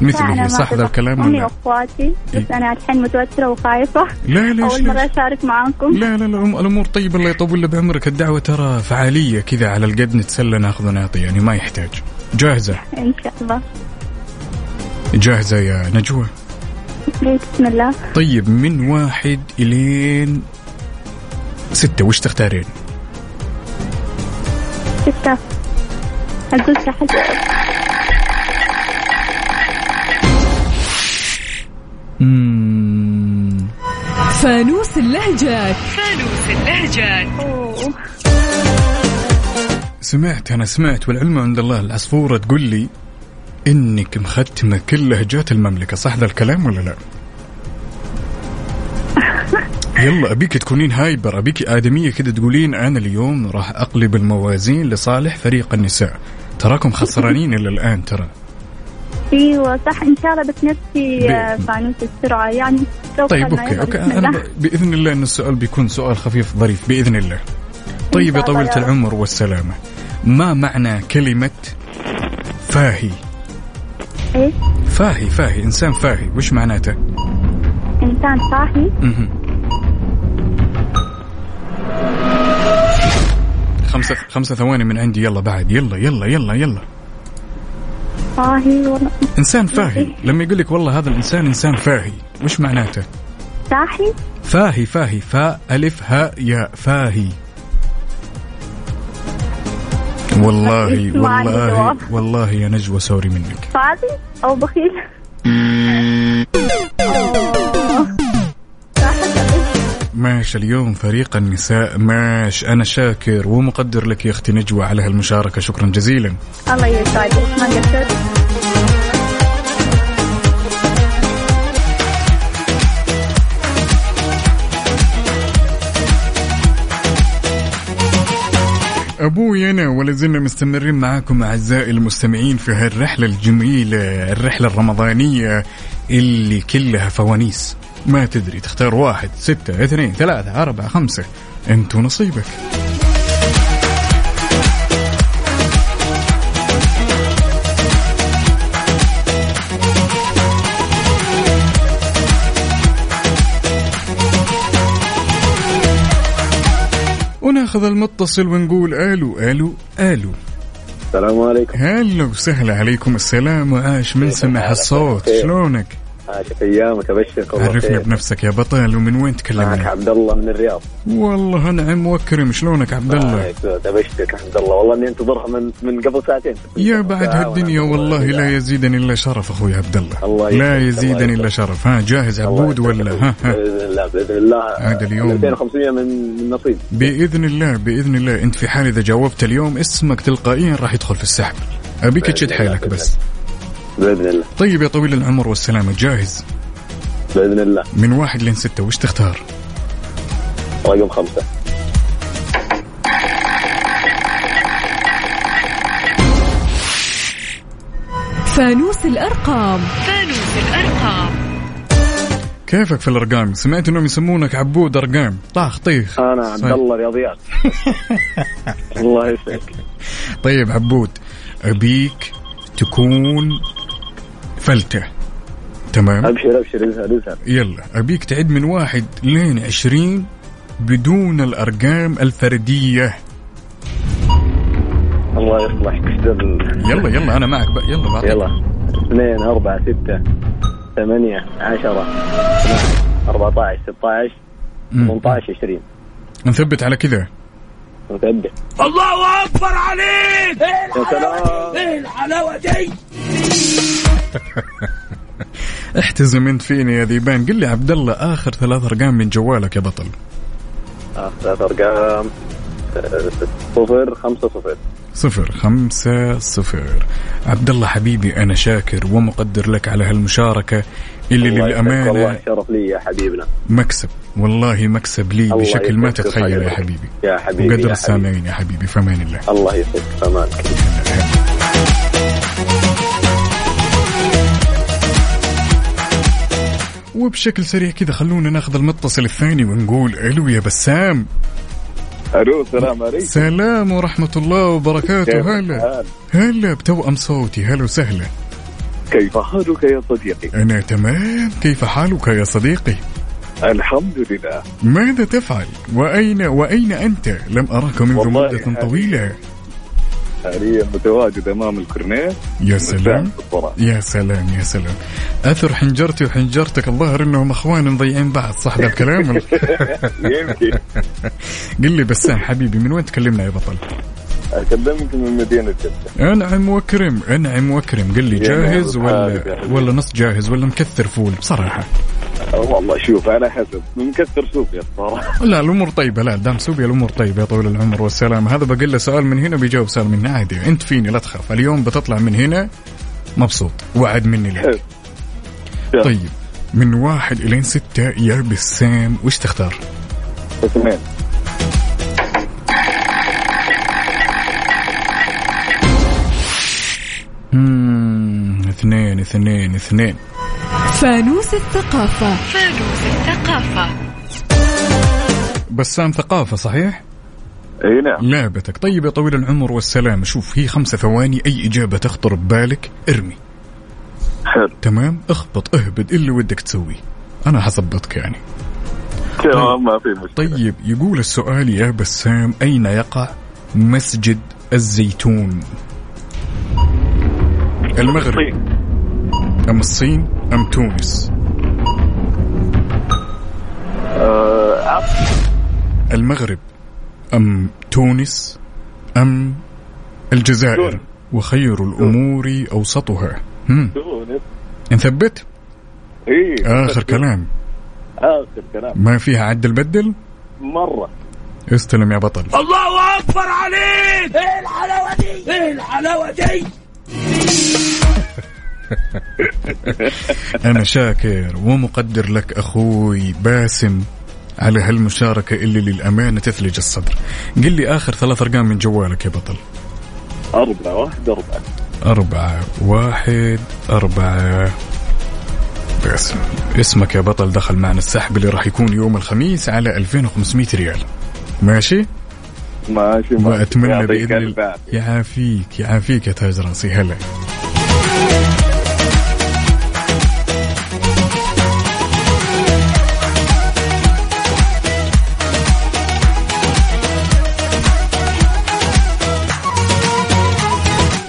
G: لا، أنا
A: مثله
G: ما
A: صح ذا
G: أعتبر.
A: الكلام
G: امي
A: ولا
G: واخواتي بس
A: إيه.
G: انا الحين متوتره وخايفه
A: لا ليش
G: اول
A: ليش؟
G: مره اشارك معاكم
A: لا لا لا أم- الامور طيبه الله يطول بعمرك الدعوه ترى فعاليه كذا على القد نتسلى ناخذ ونعطي يعني ما يحتاج جاهزه
G: ان شاء الله
A: جاهزه يا نجوى
G: إيه، بسم الله
A: طيب من واحد الين ستة وش تختارين؟
G: ستة أقول تحت
D: مم.
E: فانوس اللهجات
A: سمعت انا سمعت والعلم عند الله العصفوره تقول لي انك مختمه كل لهجات المملكه صح ذا الكلام ولا لا؟ يلا ابيك تكونين هايبر ابيك ادميه كده تقولين انا اليوم راح اقلب الموازين لصالح فريق النساء تراكم خسرانين الى الان ترى
G: ايوه صح ان شاء الله بس نفسي
A: بي-
G: آه، فانوس السرعه يعني لو
A: طيب
G: خلنا
A: اوكي
G: يلا،
A: اوكي
G: بسم
A: انا
G: الله.
A: ب- باذن الله ان السؤال بيكون سؤال خفيف ظريف باذن الله طيب يا
G: شاء الله
A: طويله
G: يا رب.
A: العمر والسلامه ما معنى كلمه فاهي
G: ايه
A: فاهي فاهي انسان فاهي وش معناته
G: انسان صاحي
A: مهم. خمسة خمسة ثواني من عندي يلا بعد يلا يلا يلا يلا
G: صاحي والله
A: انسان فاهي لما يقول لك والله هذا الانسان انسان فاهي وش معناته
G: صاحي
A: فاهي فاهي فاء ألف هاء ياء فاهي والله
G: ما عندي
A: والله
G: جواب.
A: والله يا نجوى سوري منك
G: فاضي او بخيل
A: ماشي اليوم فريق النساء ماشي أنا شاكر ومقدر لك يا أختي نجوى على هالمشاركة شكرا جزيلا
G: الله يسعدك ما قصرت
A: أبوي أنا ولا زلنا مستمرين معاكم أعزائي المستمعين في هالرحلة الجميلة الرحلة الرمضانية اللي كلها فوانيس ما تدري تختار واحد ستة اثنين ثلاثة أربعة خمسة أنت ونصيبك وناخذ المتصل ونقول الو الو الو
I: السلام عليكم
A: هلا وسهلا عليكم السلام وعاش من سمع الصوت
I: بخير.
A: شلونك؟
I: عاشت ايامك ابشرك والله
A: عرفنا
I: خير.
A: بنفسك يا بطل ومن وين
I: معك
A: تكلمنا؟
I: عبد الله من الرياض
A: والله نعم وكرم شلونك عبد
I: آه،
A: الله؟
I: ابشرك عبد الله والله اني انتظرها من من قبل ساعتين
A: يا بعد هالدنيا والله لا يزيدني الا شرف اخوي عبد الله
I: الله
A: لا
I: يسعدك،
A: يزيدني
I: الله
A: الا
I: يسعدك.
A: شرف ها جاهز عبود ولا ها ها
I: باذن الله باذن الله
A: عاد اليوم.
I: 2500 من من نصيب
A: باذن الله باذن الله انت في حال اذا جاوبت اليوم اسمك تلقائيا راح يدخل في السحب ابيك
I: بإذن
A: تشد
I: الله،
A: حيلك
I: بإذن
A: بس
I: باذن الله
A: طيب يا طويل العمر والسلامه جاهز
I: باذن الله
A: من واحد لين سته وش تختار؟
I: رقم خمسه
E: فانوس الأرقام
A: كيفك في الارقام؟ سمعت انهم يسمونك عبود ارقام، طاخ طيخ
I: انا عبد
A: صحيح.
I: الله رياضيات الله يسعدك
A: طيب عبود ابيك تكون فلته تمام؟
I: ابشر ابشر ازهر ازهر
A: يلا ابيك تعد من واحد لين عشرين بدون الأرقام الفردية
I: الله يصلحك استر
A: يلا يلا أنا معك بقى يلا بعطيك.
I: يلا اثنين أربعة ستة ثمانية عشرة 14 16
A: مم.
I: 18 20
A: نثبت على كذا
I: متأبد الله أكبر عليك يا سلام
A: احتزم انت فيني يا ذيبان قل لي عبد الله اخر ثلاث ارقام من جوالك يا بطل
I: آه، ثلاث أرقام آه، صفر خمسة صفر
A: صفر خمسة صفر عبد الله حبيبي أنا شاكر ومقدر لك على هالمشاركة اللي
I: الله يسعدك، والله
A: للأمانة
I: شرف لي يا حبيبنا
A: مكسب والله مكسب لي
I: الله
A: بشكل ما
I: يسعدك،
A: تتخيل يا
I: يسعدك.
A: حبيبي
I: يا حبيبي يا
A: وقدر
I: حبيبي.
A: السامعين يا حبيبي في أمان الله
I: الله يسعدك في أمانك
A: وبشكل سريع كذا خلونا ناخذ المتصل الثاني ونقول ألو يا بسام
F: الو السلام عليكم
A: سلام ورحمة الله
F: كيف
A: وبركاته هلا
F: الحال؟
A: هلا بتوأم صوتي هلا وسهلا
F: كيف حالك يا صديقي؟
A: أنا تمام كيف حالك يا صديقي
F: الحمد لله
A: ماذا تفعل وأين وأين أنت لم أراك منذ
F: والله
A: مدة
F: يعني-
A: طويلة
F: حاليا متواجد أمام الكورنيش
A: يا سلام
F: بالطرح.
A: يا سلام يا سلام أثر حنجرتي وحنجرتك الظاهر أنهم أخوان مضيعين بعض صح ذا الكلام
F: يمكن
A: قل لي بسام حبيبي من وين تكلمنا يا بطل
F: أكلمك من مدينة جدة
A: أنعم وأكرم أنعم وأكرم قل لي
F: يا
A: جاهز
F: نعم، حبيبي،
A: ولا
F: حبيبي.
A: ولا نص جاهز ولا مكثر فول بصراحة
F: والله شوف على حسب مكثر سوقي الصراحة
A: لا الأمور طيبة لا دام سوبيا الأمور طيبة يا طويل العمر والسلامة هذا بقول له سؤال من هنا بيجاوب سؤال من هنا عادي أنت فيني لا تخاف اليوم بتطلع من هنا مبسوط وعد مني لك طيب من واحد الين ستة يا بسام وش تختار؟
F: اثنين
A: مم، اثنين اثنين اثنين
E: فانوس الثقافة
A: بسام ثقافة صحيح؟
F: اي نعم
A: لعبتك طيب يا طويل العمر والسلامة شوف هي خمسة ثواني أي إجابة تخطر ببالك ارمي
F: حلو
A: تمام اخبط اهبد إيه اللي ودك تسويه أنا حصبتك يعني
F: تمام ما في مشكلة
A: طيب يقول السؤال يا بسام أين يقع مسجد الزيتون؟ المغرب
F: الصين.
A: أم الصين أم تونس؟
F: آه، عف-
A: المغرب أم تونس أم الجزائر
F: تونس.
A: وخير الأمور أوسطها هم.
F: تونس
A: نثبت
F: اي
A: آخر كلام
F: اخر إيه، كلام
A: ما فيها عدل بدل
F: مرة
A: استلم يا بطل أنا شاكر ومقدر لك أخوي باسم على هالمشاركة اللي للأمانة تثلج الصدر قل لي آخر ثلاث أرقام من جوالك يا بطل
F: أربعة واحد أربعة
A: أربعة واحد أربعة باسم اسمك يا بطل دخل معنا السحب اللي راح يكون يوم الخميس على 2500 ريال ماشي؟
F: ماشي ماشي.
A: واتمنى
F: يعطيك
A: باذن
F: ألف
A: الله
F: عافية.
A: يعافيك يعافيك يا تاج راسي هلا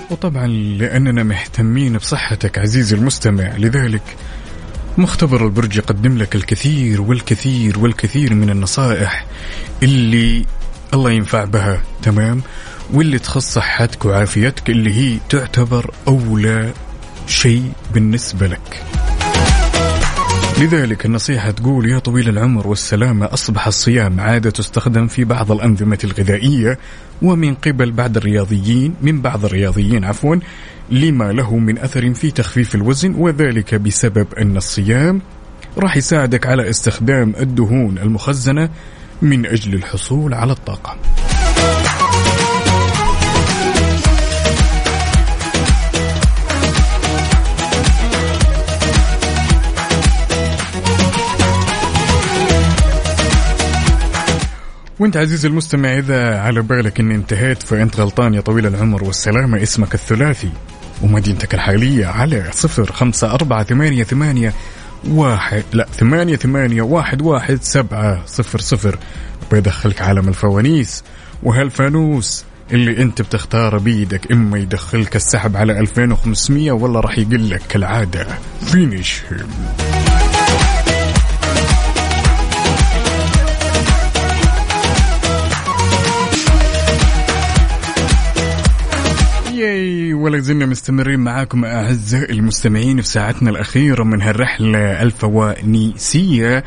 A: وطبعا لاننا مهتمين بصحتك عزيزي المستمع لذلك مختبر البرج يقدم لك الكثير والكثير والكثير من النصائح اللي الله ينفع بها تمام واللي تخص صحتك وعافيتك اللي هي تعتبر أولى شيء بالنسبة لك لذلك النصيحة تقول يا طويل العمر والسلامة أصبح الصيام عادة تستخدم في بعض الأنظمة الغذائية ومن قبل بعض الرياضيين من بعض الرياضيين عفوا لما له من أثر في تخفيف الوزن وذلك بسبب أن الصيام راح يساعدك على استخدام الدهون المخزنة من أجل الحصول على الطاقة وانت عزيزي المستمع اذا على بالك اني انتهيت فانت غلطان يا طويل العمر والسلامة اسمك الثلاثي ومدينتك الحالية على صفر خمسة أربعة ثمانية ثمانية واحد لا ثمانية ثمانية واحد واحد سبعة صفر صفر بيدخلك عالم الفوانيس وهالفانوس اللي انت بتختاره بيدك اما يدخلك السحب على 2500 ولا راح يقلك كالعادة فينيش ياي ولا زلنا مستمرين معاكم اعزائي المستمعين في ساعتنا الاخيره من هالرحله الفوانيسيه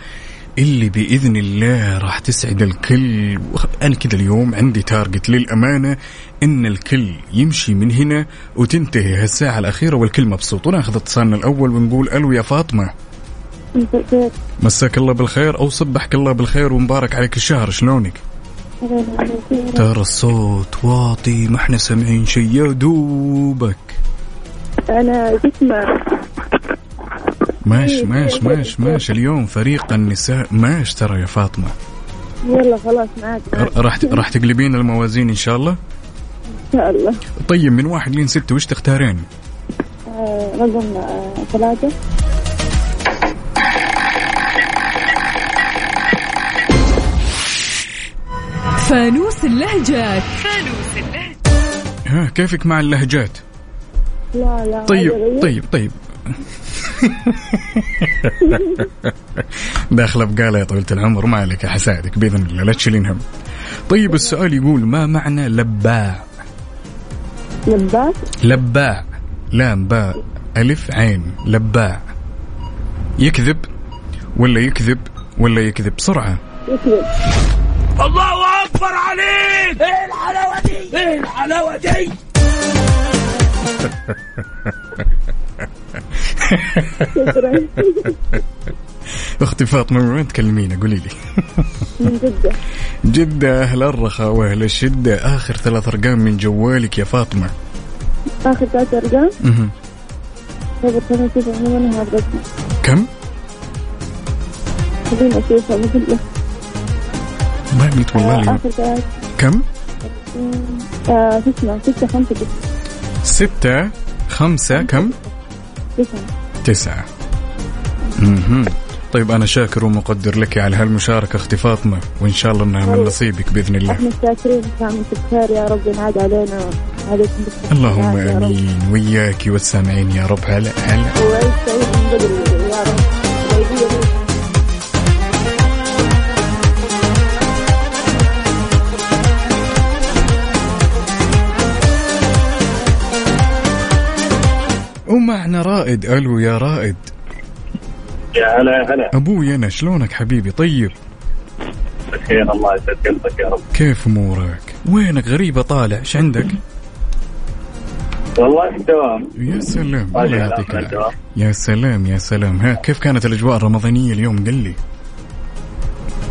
A: اللي باذن الله راح تسعد الكل وخ- انا كذا اليوم عندي تارجت للامانه ان الكل يمشي من هنا وتنتهي هالساعه الاخيره والكل مبسوط وناخذ اتصالنا الاول ونقول الو يا فاطمه مساك الله بالخير او صبحك الله بالخير ومبارك عليك الشهر شلونك ترى الصوت واطي ما احنا سامعين شيء يا دوبك
J: أنا جسمة
A: ماش ماش ماش ماش اليوم فريق النساء ماش ترى يا فاطمه
J: يلا خلاص معاك
A: ر- راح راح تقلبين الموازين ان شاء الله
J: إن شاء الله
A: طيب من واحد لين ستة وش تختارين
J: آه، رقم آه، ثلاثة
E: فانوس اللهجات
A: ها كيفك مع اللهجات
J: لا لا
H: أيوة،
A: طيب طيب طيب داخله بقاله يا طويله العمر ما عليك حسادك باذن الله لا تشيلين هم طيب السؤال يقول ما معنى لباع
J: لباس
A: لباع لام باء ألف عين لباع يكذب ولا يكذب ولا يكذب بسرعة
J: يكذب شكرا
A: أختي فاطمة من وين تكلمينا قولي لي
J: من جدة
A: جدة أهل الرخاء وأهل الشدة آخر ثلاث أرقام من جوالك يا فاطمة
J: آخر ثلاث أرقام
A: مهم.
J: طيب خليني أشوف عموما أنا هالرقم
A: كم؟
J: خليني أشوفها بقول لك
A: ما قلت والله اليوم
J: آخر ثلاث
A: كم؟
J: آه، شو اسمه ستة خمسة تسعة
A: ستة خمسة كم؟
J: تسعة
A: تسعة مهم. طيب أنا شاكر ومقدر لك على هالمشاركة أختي فاطمة وإن شاء الله أنها من نصيبك بإذن الله
J: احنا آه. شاكرين فاهمك بخير يا رب ينعاد علينا عليكم بالخير
A: اللهم
J: يا رب.
A: امين وياك والسامعين يا رب هلا هلا
J: وعيد سعيد من بدري يا رب طيبية لي.
A: ومعنا رائد الو يا رائد
I: يا هلا يا هلا
A: ابوي انا شلونك حبيبي طيب
I: بخير الله يسعد قلبك يا رب
A: كيف امورك وينك غريبه طالع ايش عندك
I: والله طيب، الدوام
A: يا سلام
I: طالع
A: الله يعطيك
I: الآخر
A: العافيه
I: الدوام.
A: يا سلام يا سلام ها كيف كانت الاجواء الرمضانيه اليوم قل لي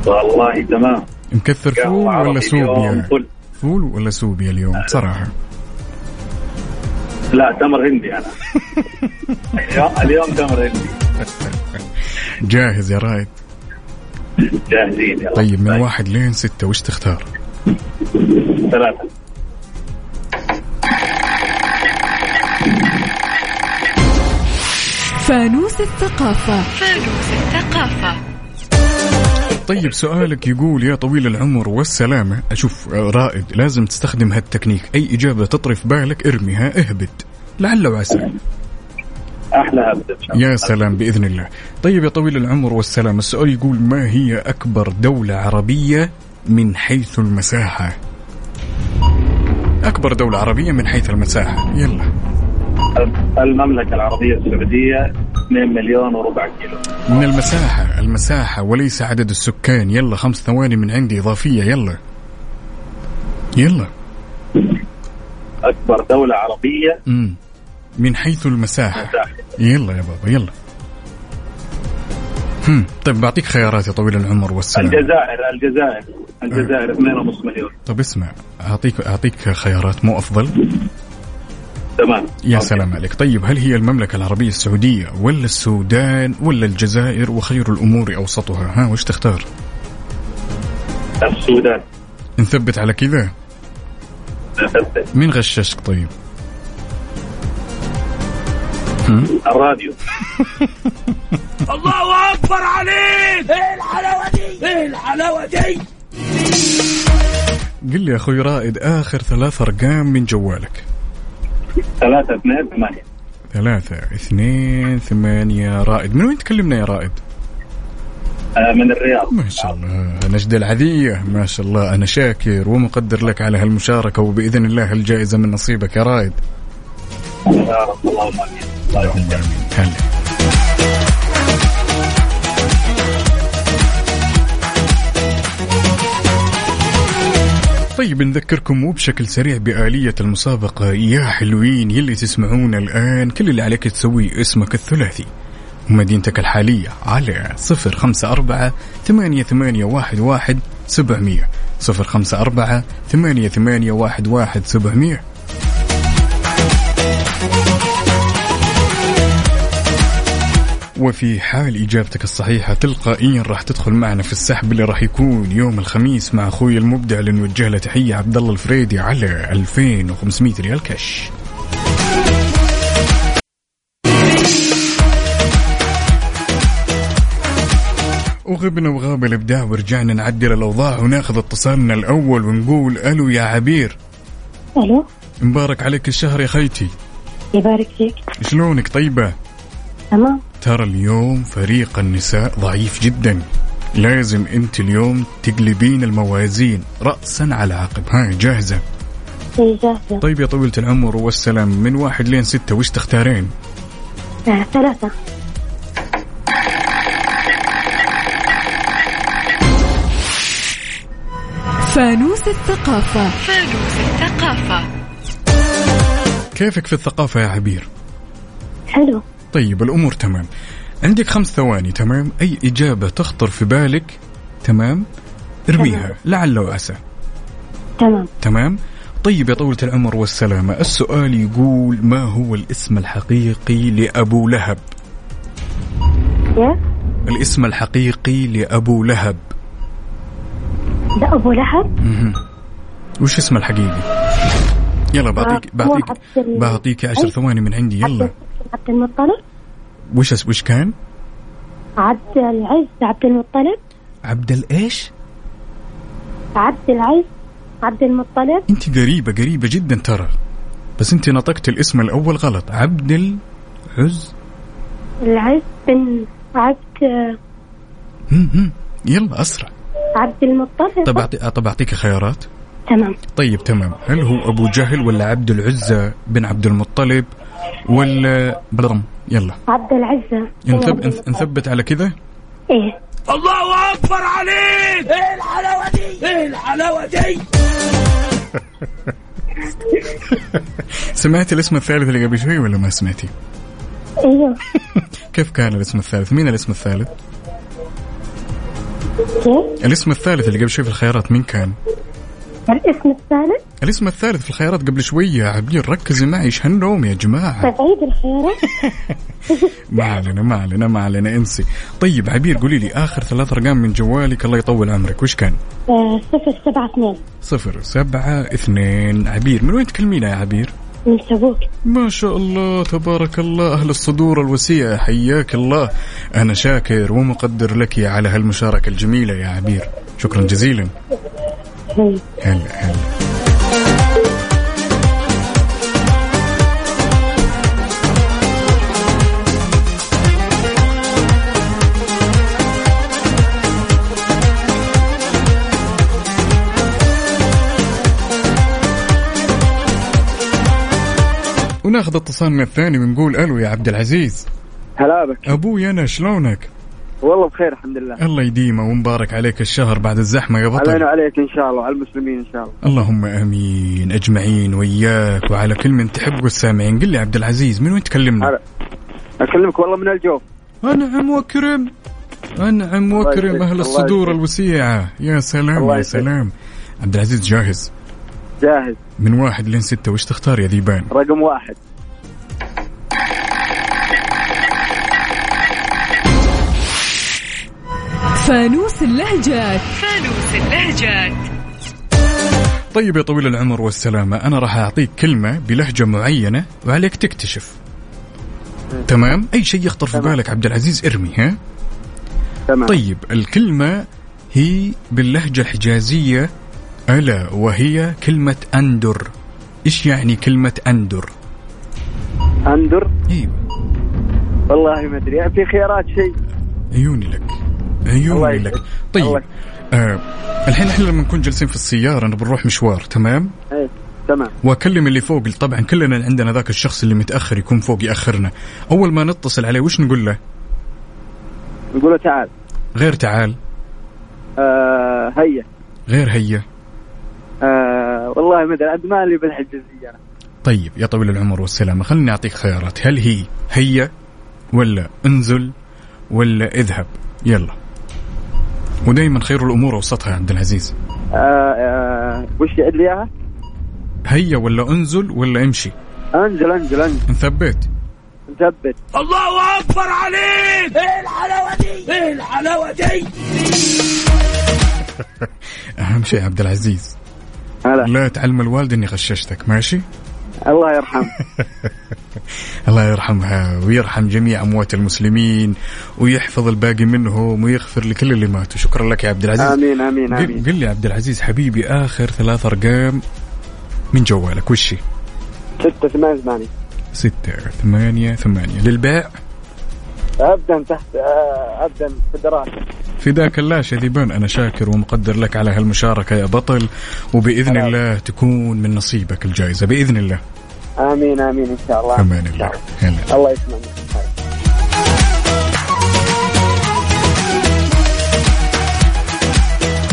I: والله تمام
A: مكثر فول
I: قهوة
A: ولا
I: عربي اليوم
A: سوبيا
I: فل.
A: فول ولا سوبيا اليوم بصراحه
I: لا تمر هندي انا اليوم- اليوم تمر هندي
A: جاهز يا رائد
I: جاهزين يلا
A: طيب من واحد لين ستة وش تختار
I: ثلاثة
E: فانوس الثقافة
A: طيب سؤالك يقول يا طويل العمر والسلامة أشوف آه، رائد لازم تستخدم هالتكنيك أي إجابة تطري في بالك ارميها اهبط لعل وعسى
I: احلى هبدة إن شاء الله.
A: يا سلام بإذن الله طيب يا طويل العمر والسلامة السؤال يقول ما هي أكبر دولة عربية من حيث المساحة أكبر دولة عربية من حيث المساحة يلا
I: المملكة العربية السعودية 2 مليون وربع كيلو
A: من المساحة المساحة وليس عدد السكان يلا خمس ثواني من عندي إضافية يلا يلا
I: أكبر دولة عربية
A: مم. من حيث المساحة
I: مساحة.
A: يلا يا بابا يلا هم. طيب بعطيك خيارات يا طويل العمر والسلام
I: الجزائر الجزائر الجزائر 2.5 مليون
A: طب طيب، اسمع اعطيك اعطيك خيارات مو افضل
I: تمام
A: يا
I: أوكي.
A: سلام عليك طيب هل هي المملكه العربيه السعوديه ولا السودان ولا الجزائر وخير الامور اوسطها ها وش تختار
I: السودان
A: نثبت على كذا
I: ثبت.
A: مين غششك طيب
I: الراديو
C: الله اكبر عليك ايه الحلاوه دي ايه الحلاوه دي
A: قل لي يا اخوي رائد اخر ثلاث ارقام من جوالك
I: ثلاثة اثنين ثمانية
A: ثلاثة اثنين ثمانية رائد من وين تكلمنا يا رائد؟
I: آه، من الرياض
A: ما شاء الله نجدة العذية ما شاء الله أنا شاكر ومقدر لك على هالمشاركة وبإذن الله الجائزة من نصيبك يا رائد
I: يا رب اللهم امين الله
A: اللهم
I: يوفقك.
A: آمين هلا طيب نذكركم وبشكل سريع بآلية المسابقة يا حلوين يلي تسمعونا الآن كل اللي عليك تسوي اسمك الثلاثي ومدينتك الحالية على صفر خمسة أربعة ثمانية ثمانية واحد واحد سبعمية صفر خمسة أربعة ثمانية ثمانية واحد واحد سبعمية وفي حال اجابتك الصحيحه تلقائيا راح تدخل معنا في السحب اللي راح يكون يوم الخميس مع اخوي المبدع اللي نوجه له تحيه عبد الله الفريدي على 2500 ريال كاش. وغبنا وغاب الابداع ورجعنا نعدل الاوضاع وناخذ اتصالنا الاول ونقول الو يا عبير
J: الو
A: مبارك عليك الشهر يا خيتي
J: يبارك فيك
A: شلونك طيبه؟
J: تمام
A: ترى اليوم فريق النساء ضعيف جدا لازم انت اليوم تقلبين الموازين رأسا على عقب هاي جاهزة
J: إيه، جاهزة
A: طيب يا طويلة العمر والسلام من واحد لين ستة وش تختارين
J: آه، ثلاثة
E: فانوس الثقافة
A: كيفك في الثقافة يا عبير
J: حلو
A: طيب الأمور تمام عندك خمس ثواني تمام أي إجابة تخطر في بالك تمام ارميها لعل وعسى
J: تمام
A: تمام طيب يا طويلة العمر والسلامة السؤال يقول ما هو الاسم الحقيقي لأبو لهب
J: يا
A: الاسم الحقيقي لأبو لهب
J: ده أبو لهب
A: وش اسمه الحقيقي؟ يلا بعطيك
J: آه، هو
A: بعطيك
J: عبد ال-
A: بعطيك عشر
J: أي.
A: ثواني من عندي يلا
J: عبد المطلب
A: وش أس- وش كان؟
J: عبد العز عبد المطلب
A: عبد الايش؟
J: عبد العز عبد المطلب
A: انت قريبة قريبة جدا ترى بس انت نطقت الاسم الاول غلط عبد العز
J: العز بن عبد
A: هم هم. يلا اسرع
J: عبد المطلب
A: طب أعطي... طب اعطيك خيارات
J: تمام
A: طيب تمام هل هو ابو جهل ولا عبد العزة بن عبد المطلب ولا بلرم يلا
J: عبد العزة بن عبد
A: نثب...
J: المطلب.
A: نثبت على كذا
J: ايه
C: الله اكبر عليك ايه الحلاوه دي ايه الحلاوه دي
A: سمعت الاسم الثالث اللي قبل شوي ولا ما سمعتي؟
J: ايوه
A: كيف كان الاسم الثالث؟ مين الاسم الثالث؟
J: كيف
A: الاسم الثالث اللي قبل شوي في الخيارات مين كان؟
J: الاسم الثالث
A: الاسم الثالث في الخيارات قبل شوي يا عبير ركزي معي ايش هالنوم يا جماعة؟
J: طيب عيد الخيارات
A: ما علينا ما علينا ما علينا انسي. طيب عبير قولي لي اخر ثلاث ارقام من جوالك الله يطول عمرك وش كان؟
J: آه، صفر سبعة اثنين
A: صفر سبعة اثنين عبير من وين تكلمينا يا عبير؟
J: من تبوك
A: ما شاء الله تبارك الله أهل الصدور الوسيع حياك الله أنا شاكر ومقدر لك على هالمشاركة الجميلة يا عبير شكرا جزيلا
J: طيب.
A: هلا هلا وناخذ اتصالنا الثاني ونقول الو يا عبد العزيز
I: هلا بك
A: ابوي انا شلونك؟
I: والله بخير الحمد لله
A: الله يديمه ومبارك عليك الشهر بعد الزحمه يا
I: علينا
A: بطل
I: عليك ان شاء الله وعلى المسلمين ان شاء الله
A: اللهم امين اجمعين وياك وعلى كل من تحب والسامعين قل لي عبد العزيز من وين تكلمنا؟
I: هلا. اكلمك والله من الجوف
A: انعم واكرم انعم
I: الله
A: واكرم
I: يسعدك،
A: اهل
I: الله
A: الصدور
I: يسعدك.
A: الوسيعه يا سلام
I: الله
A: يا
I: يسعدك.
A: سلام عبد العزيز جاهز
I: جاهز
A: من واحد لين ستة وش تختار يا ذيبان؟
I: رقم واحد
E: فانوس اللهجات
A: طيب يا طويل العمر والسلامة أنا راح أعطيك كلمة بلهجة معينة وعليك تكتشف تمام اي شيء يخطر في بالك عبد العزيز ارمي ها
I: تمام
A: طيب الكلمه هي باللهجه الحجازيه الا وهي كلمه اندر ايش يعني كلمه اندر
I: اندر
A: ايوه
I: والله ما ادري يعني في خيارات شيء
A: عيوني لك عيوني لك طيب آه الحين احنا لما نكون جالسين في السياره نبي نروح مشوار تمام
I: ايه تمام
A: واكلم اللي فوق طبعا كلنا عندنا ذاك الشخص اللي متاخر يكون فوق ياخرنا اول ما نتصل عليه وش نقول له
I: نقول له تعال
A: غير تعال
I: آه هيا
A: غير هيا
I: آه والله ما ادري عاد مالي بالحجازيه انا
A: طيب يا طويل العمر والسلامه خليني اعطيك خيارات هل هي هيا ولا انزل ولا اذهب يلا ودائما خير الامور اوسطها يا عبد العزيز
I: آه آه وش يعد لي اياها؟
A: هيا ولا انزل ولا امشي
I: انزل انزل انزل
A: نثبت
I: مثبت
C: الله اكبر عليك ايه الحلاوه دي ايه الحلاوه دي
A: اهم شيء يا عبد العزيز
I: هلا
A: لا تعلم الوالد اني غششتك ماشي
I: الله يرحمه
A: الله يرحمها ويرحم جميع اموات المسلمين ويحفظ الباقي منهم ويغفر لكل اللي ماتوا شكرا لك يا عبد العزيز
I: امين امين
A: قل-
I: امين
A: قل لي يا عبد العزيز حبيبي اخر ثلاث ارقام من جوالك وش هي؟
I: 6 8 8
A: ستة ثمانية ثمانية للباع
I: ابدا تحت آه، ابدا في الدراسه
A: فداك الله شذبان انا شاكر ومقدر لك على هالمشاركة يا بطل وباذن
I: حلو.
A: الله تكون من نصيبك الجائزة باذن الله
I: امين امين ان شاء الله
A: امان
I: إن
A: الله
I: شاء الله.
A: هلا
I: الله يسلمك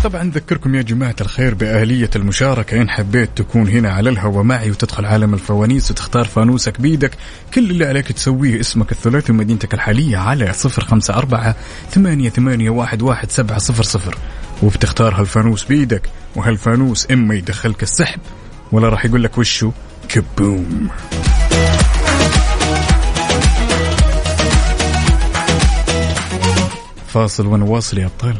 A: طبعا نذكركم يا جماعة الخير بآلية المشاركة إن حبيت تكون هنا على الهواء معي وتدخل عالم الفوانيس وتختار فانوسك بيدك كل اللي عليك تسويه اسمك الثلاثي ومدينتك الحالية على صفر خمسة أربعة ثمانية, ثمانية واحد, واحد سبعة صفر صفر وبتختار هالفانوس بيدك وهالفانوس إما يدخلك السحب ولا راح يقول لك وشو كبوم فاصل وانا واصل يا ابطال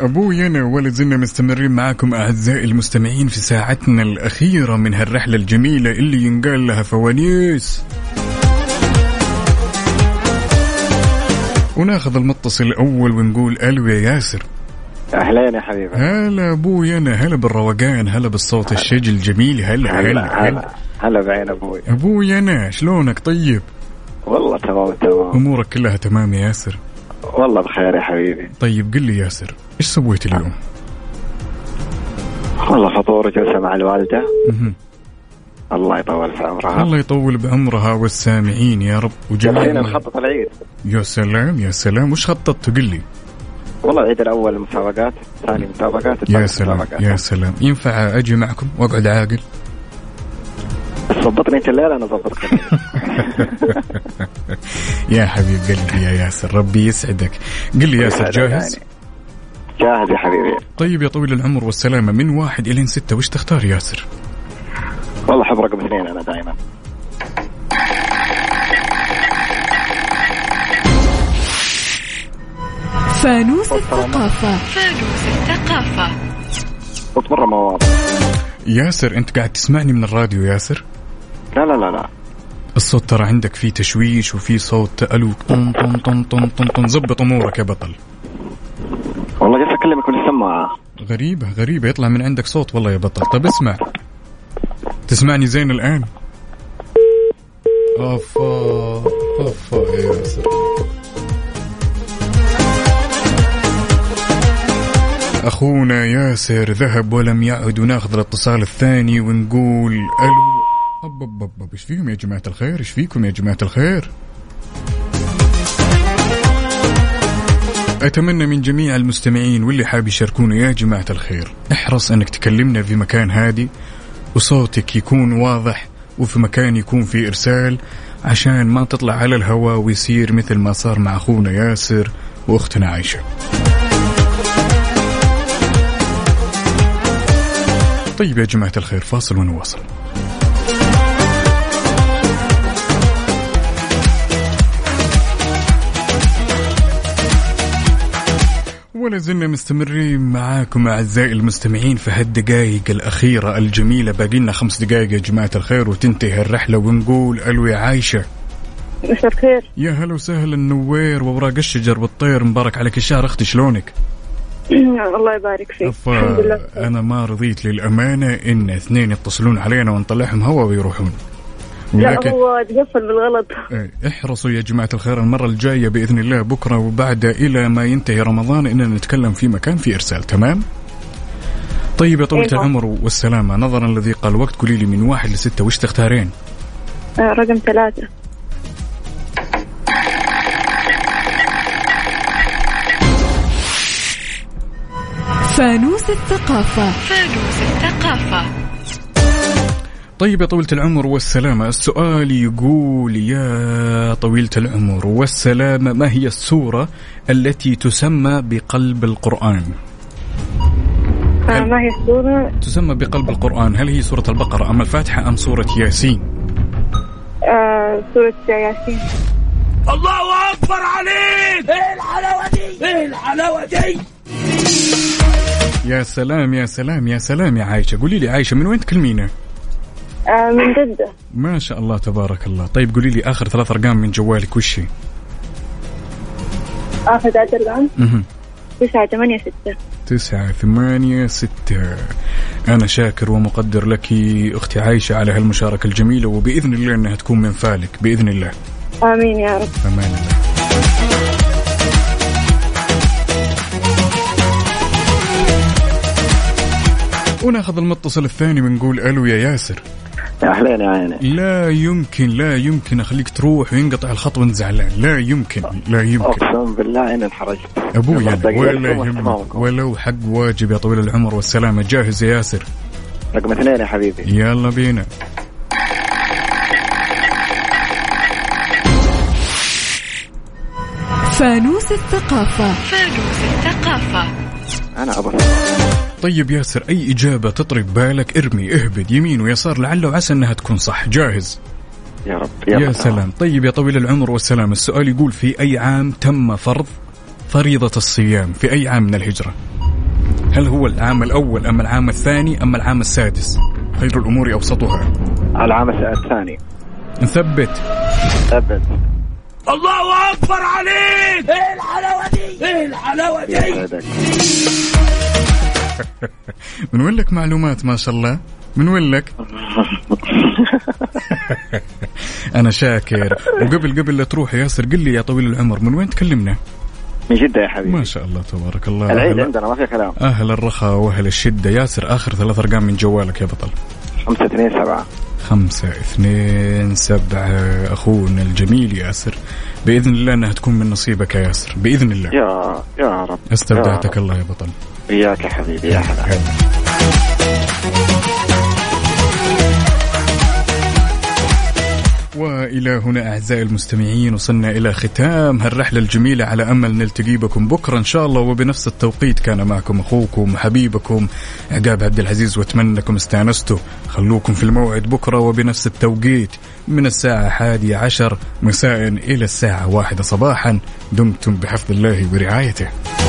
A: ابوي انا وولد زلنا مستمرين معاكم اعزائي المستمعين في ساعتنا الاخيره من هالرحله الجميله اللي ينقال لها فوانيس وناخذ المتصل الاول ونقول الو يا ياسر
I: اهلين يا حبيبي
A: هلا ابوي انا هلا بالروقان هلا بالصوت الشج الجميل هلا هلا هلا
I: هلا بعين ابوي
A: ابوي انا شلونك طيب
I: والله تمام تمام
A: امورك كلها تمام يا ياسر
I: والله بخير يا حبيبي
A: طيب قل لي ياسر ايش سويت اليوم
I: والله فطور جلسه مع الوالده
A: مهم.
I: الله يطول في عمرها
A: الله يطول بعمرها والسامعين يا رب
I: الحين
A: وجميع
I: نخطط العيد
A: يا سلام يا سلام وش خططت قل لي
I: والله العيد الاول مسابقات ثاني مسابقات
A: يا
I: الثالث
A: سلام
I: مسابقات.
A: يا سلام ينفع اجي معكم واقعد عاقل
I: ظبطني انت الليله انا ظبطك الليلة.
A: يا حبيب قلبي يا ياسر ربي يسعدك قل لي ياسر جاهز
I: يعني. جاهز يا حبيبي
A: طيب يا طويل العمر والسلامة من واحد إلين ستة وش تختار ياسر
I: والله حب رقم اثنين انا دائما
E: فانوس الثقافة
I: صوت مره مواضع
A: ياسر أنت قاعد تسمعني من الراديو ياسر
I: لا لا لا لا
A: الصوت ترى عندك فيه تشويش وفيه صوت ألو طن طن طن طن طن طن زبط أمورك يا بطل
I: والله جالس اكلمك من السماعه
A: غريبة غريبة يطلع من عندك صوت والله يا بطل طب اسمع تسمعني زين الآن أفا أفا يا ياسر أخونا ياسر ذهب ولم يعد وناخذ الاتصال الثاني ونقول ألو أب أب أب أب، إيش فيهم يا جماعة الخير إيش فيكم يا جماعة الخير أتمنى من جميع المستمعين واللي حاب يشاركونا يا جماعة الخير احرص أنك تكلمنا في مكان هادي وصوتك يكون واضح وفي مكان يكون فيه إرسال عشان ما تطلع على الهواء ويصير مثل ما صار مع أخونا ياسر وأختنا عايشة طيب يا جماعة الخير فاصل ونواصل ولا زلنا مستمرين معاكم اعزائي المستمعين في هالدقائق الاخيره الجميله باقي لنا خمس دقائق يا جماعه الخير وتنتهي الرحله ونقول الو يا عايشه
J: مساء الخير
A: يا هلا وسهلا نوير واوراق الشجر والطير مبارك عليك الشهر اختي شلونك؟
J: الله يبارك فيك الحمد لله بخير.
A: انا ما رضيت للامانه ان اثنين يتصلون علينا ونطلعهم هوا ويروحون
J: لا هو تقفل بالغلط
A: إيه، احرصوا يا جماعة الخير المرة الجاية بإذن الله بكرة وبعد إلى ما ينتهي رمضان إننا نتكلم في مكان في إرسال تمام؟ طيب يا طويلة
J: أيوة.
A: العمر والسلامة نظرا لضيق الوقت قولي لي من واحد لستة وش تختارين؟
J: آه، رقم ثلاثة
E: فانوس الثقافة
A: طيب يا طويلة العمر والسلامة السؤال يقول يا طويلة العمر والسلامة ما هي السورة التي تسمى بقلب القرآن؟
J: آه، ما هي السورة
A: تسمى بقلب القرآن هل هي سورة البقرة أم الفاتحة أم سورة ياسين؟
H: Äh,
J: آه، سورة ياسين
C: الله اكبر عليك ايه الحلاوه دي ايه الحلاوه دي
A: يا سلام يا سلام يا سلام يا عايشة قولي لي عايشة من وين تكلمينا؟
H: Ähm,
J: آه، من
H: ah,
J: جدة
A: ما شاء الله تبارك الله طيب قولي لي آخر ثلاث أرقام من جوالك وش هي؟
J: آخر ثلاث أرقام
A: مهم.
J: تسعة ثمانية ستة
A: تسعة ثمانية ستة أنا شاكر ومقدر لك أختي عايشة على هالمشاركة الجميلة وبإذن الله أنها تكون من فالك بإذن الله
J: آمين يا رب
A: أمان الله وناخذ المتصل الثاني ونقول الو يا ياسر
I: يا أهلين يا عيني
A: لا يمكن لا يمكن اخليك تروح وينقطع الخط وانت زعلان لا يمكن لا يمكن
I: أقسم بالله إني انحرجت
A: ابوي
I: يلا
A: أنا،
I: دقيقة
A: ولا
I: وما
A: يهمك
I: أسمعكم.
A: ولو حق واجب يا طويل العمر والسلامه جاهز يا ياسر
I: رقم اثنين يا حبيبي
A: يلا بينا
E: فانوس الثقافة
I: أنا أبغى
A: طيب ياسر اي اجابه تطرب بالك ارمي اهبد يمين ويسار لعل وعسى انها تكون صح جاهز
I: يا رب
A: يا سلام طيب يا طويل العمر والسلامه السؤال يقول في اي عام تم فرض فريضه الصيام في اي عام من الهجره هل هو العام الاول ام العام الثاني ام العام السادس خير الامور اوسطها
I: العام الثاني
A: نثبت
I: ثبت
C: الله اكبر عليك ايه الحلاوه دي ايه الحلاوه
I: يا
C: دي
I: سعدك
A: من وين لك معلومات ما شاء الله من وين لك انا شاكر وقبل قبل لا تروح يا ياسر قل لي يا طويل العمر من وين تكلمنا
I: من جدة يا حبيبي
A: ما شاء الله تبارك الله
I: العيد
A: أهل,
I: عندنا ما في كلام
A: اهل الرخاء واهل الشده ياسر اخر ثلاث ارقام من جوالك يا بطل
I: خمسة اثنين سبعة
A: خمسة اثنين سبعة أخونا الجميل ياسر بإذن الله أنها تكون من نصيبك يا ياسر بإذن الله
I: يا يا رب
A: استودعتك الله يا بطل
I: إياك يا حبيبي يا حلا
A: وإلى هنا أعزائي المستمعين وصلنا إلى ختام هالرحلة الجميلة على أمل نلتقي بكم بكرة إن شاء الله وبنفس التوقيت كان معكم أخوكم حبيبكم عقاب عبد العزيز وأتمنى أنكم استانستوا خلوكم في الموعد بكرة وبنفس التوقيت من الساعة حادية عشر مساء إلى الساعة واحدة صباحا دمتم بحفظ الله ورعايته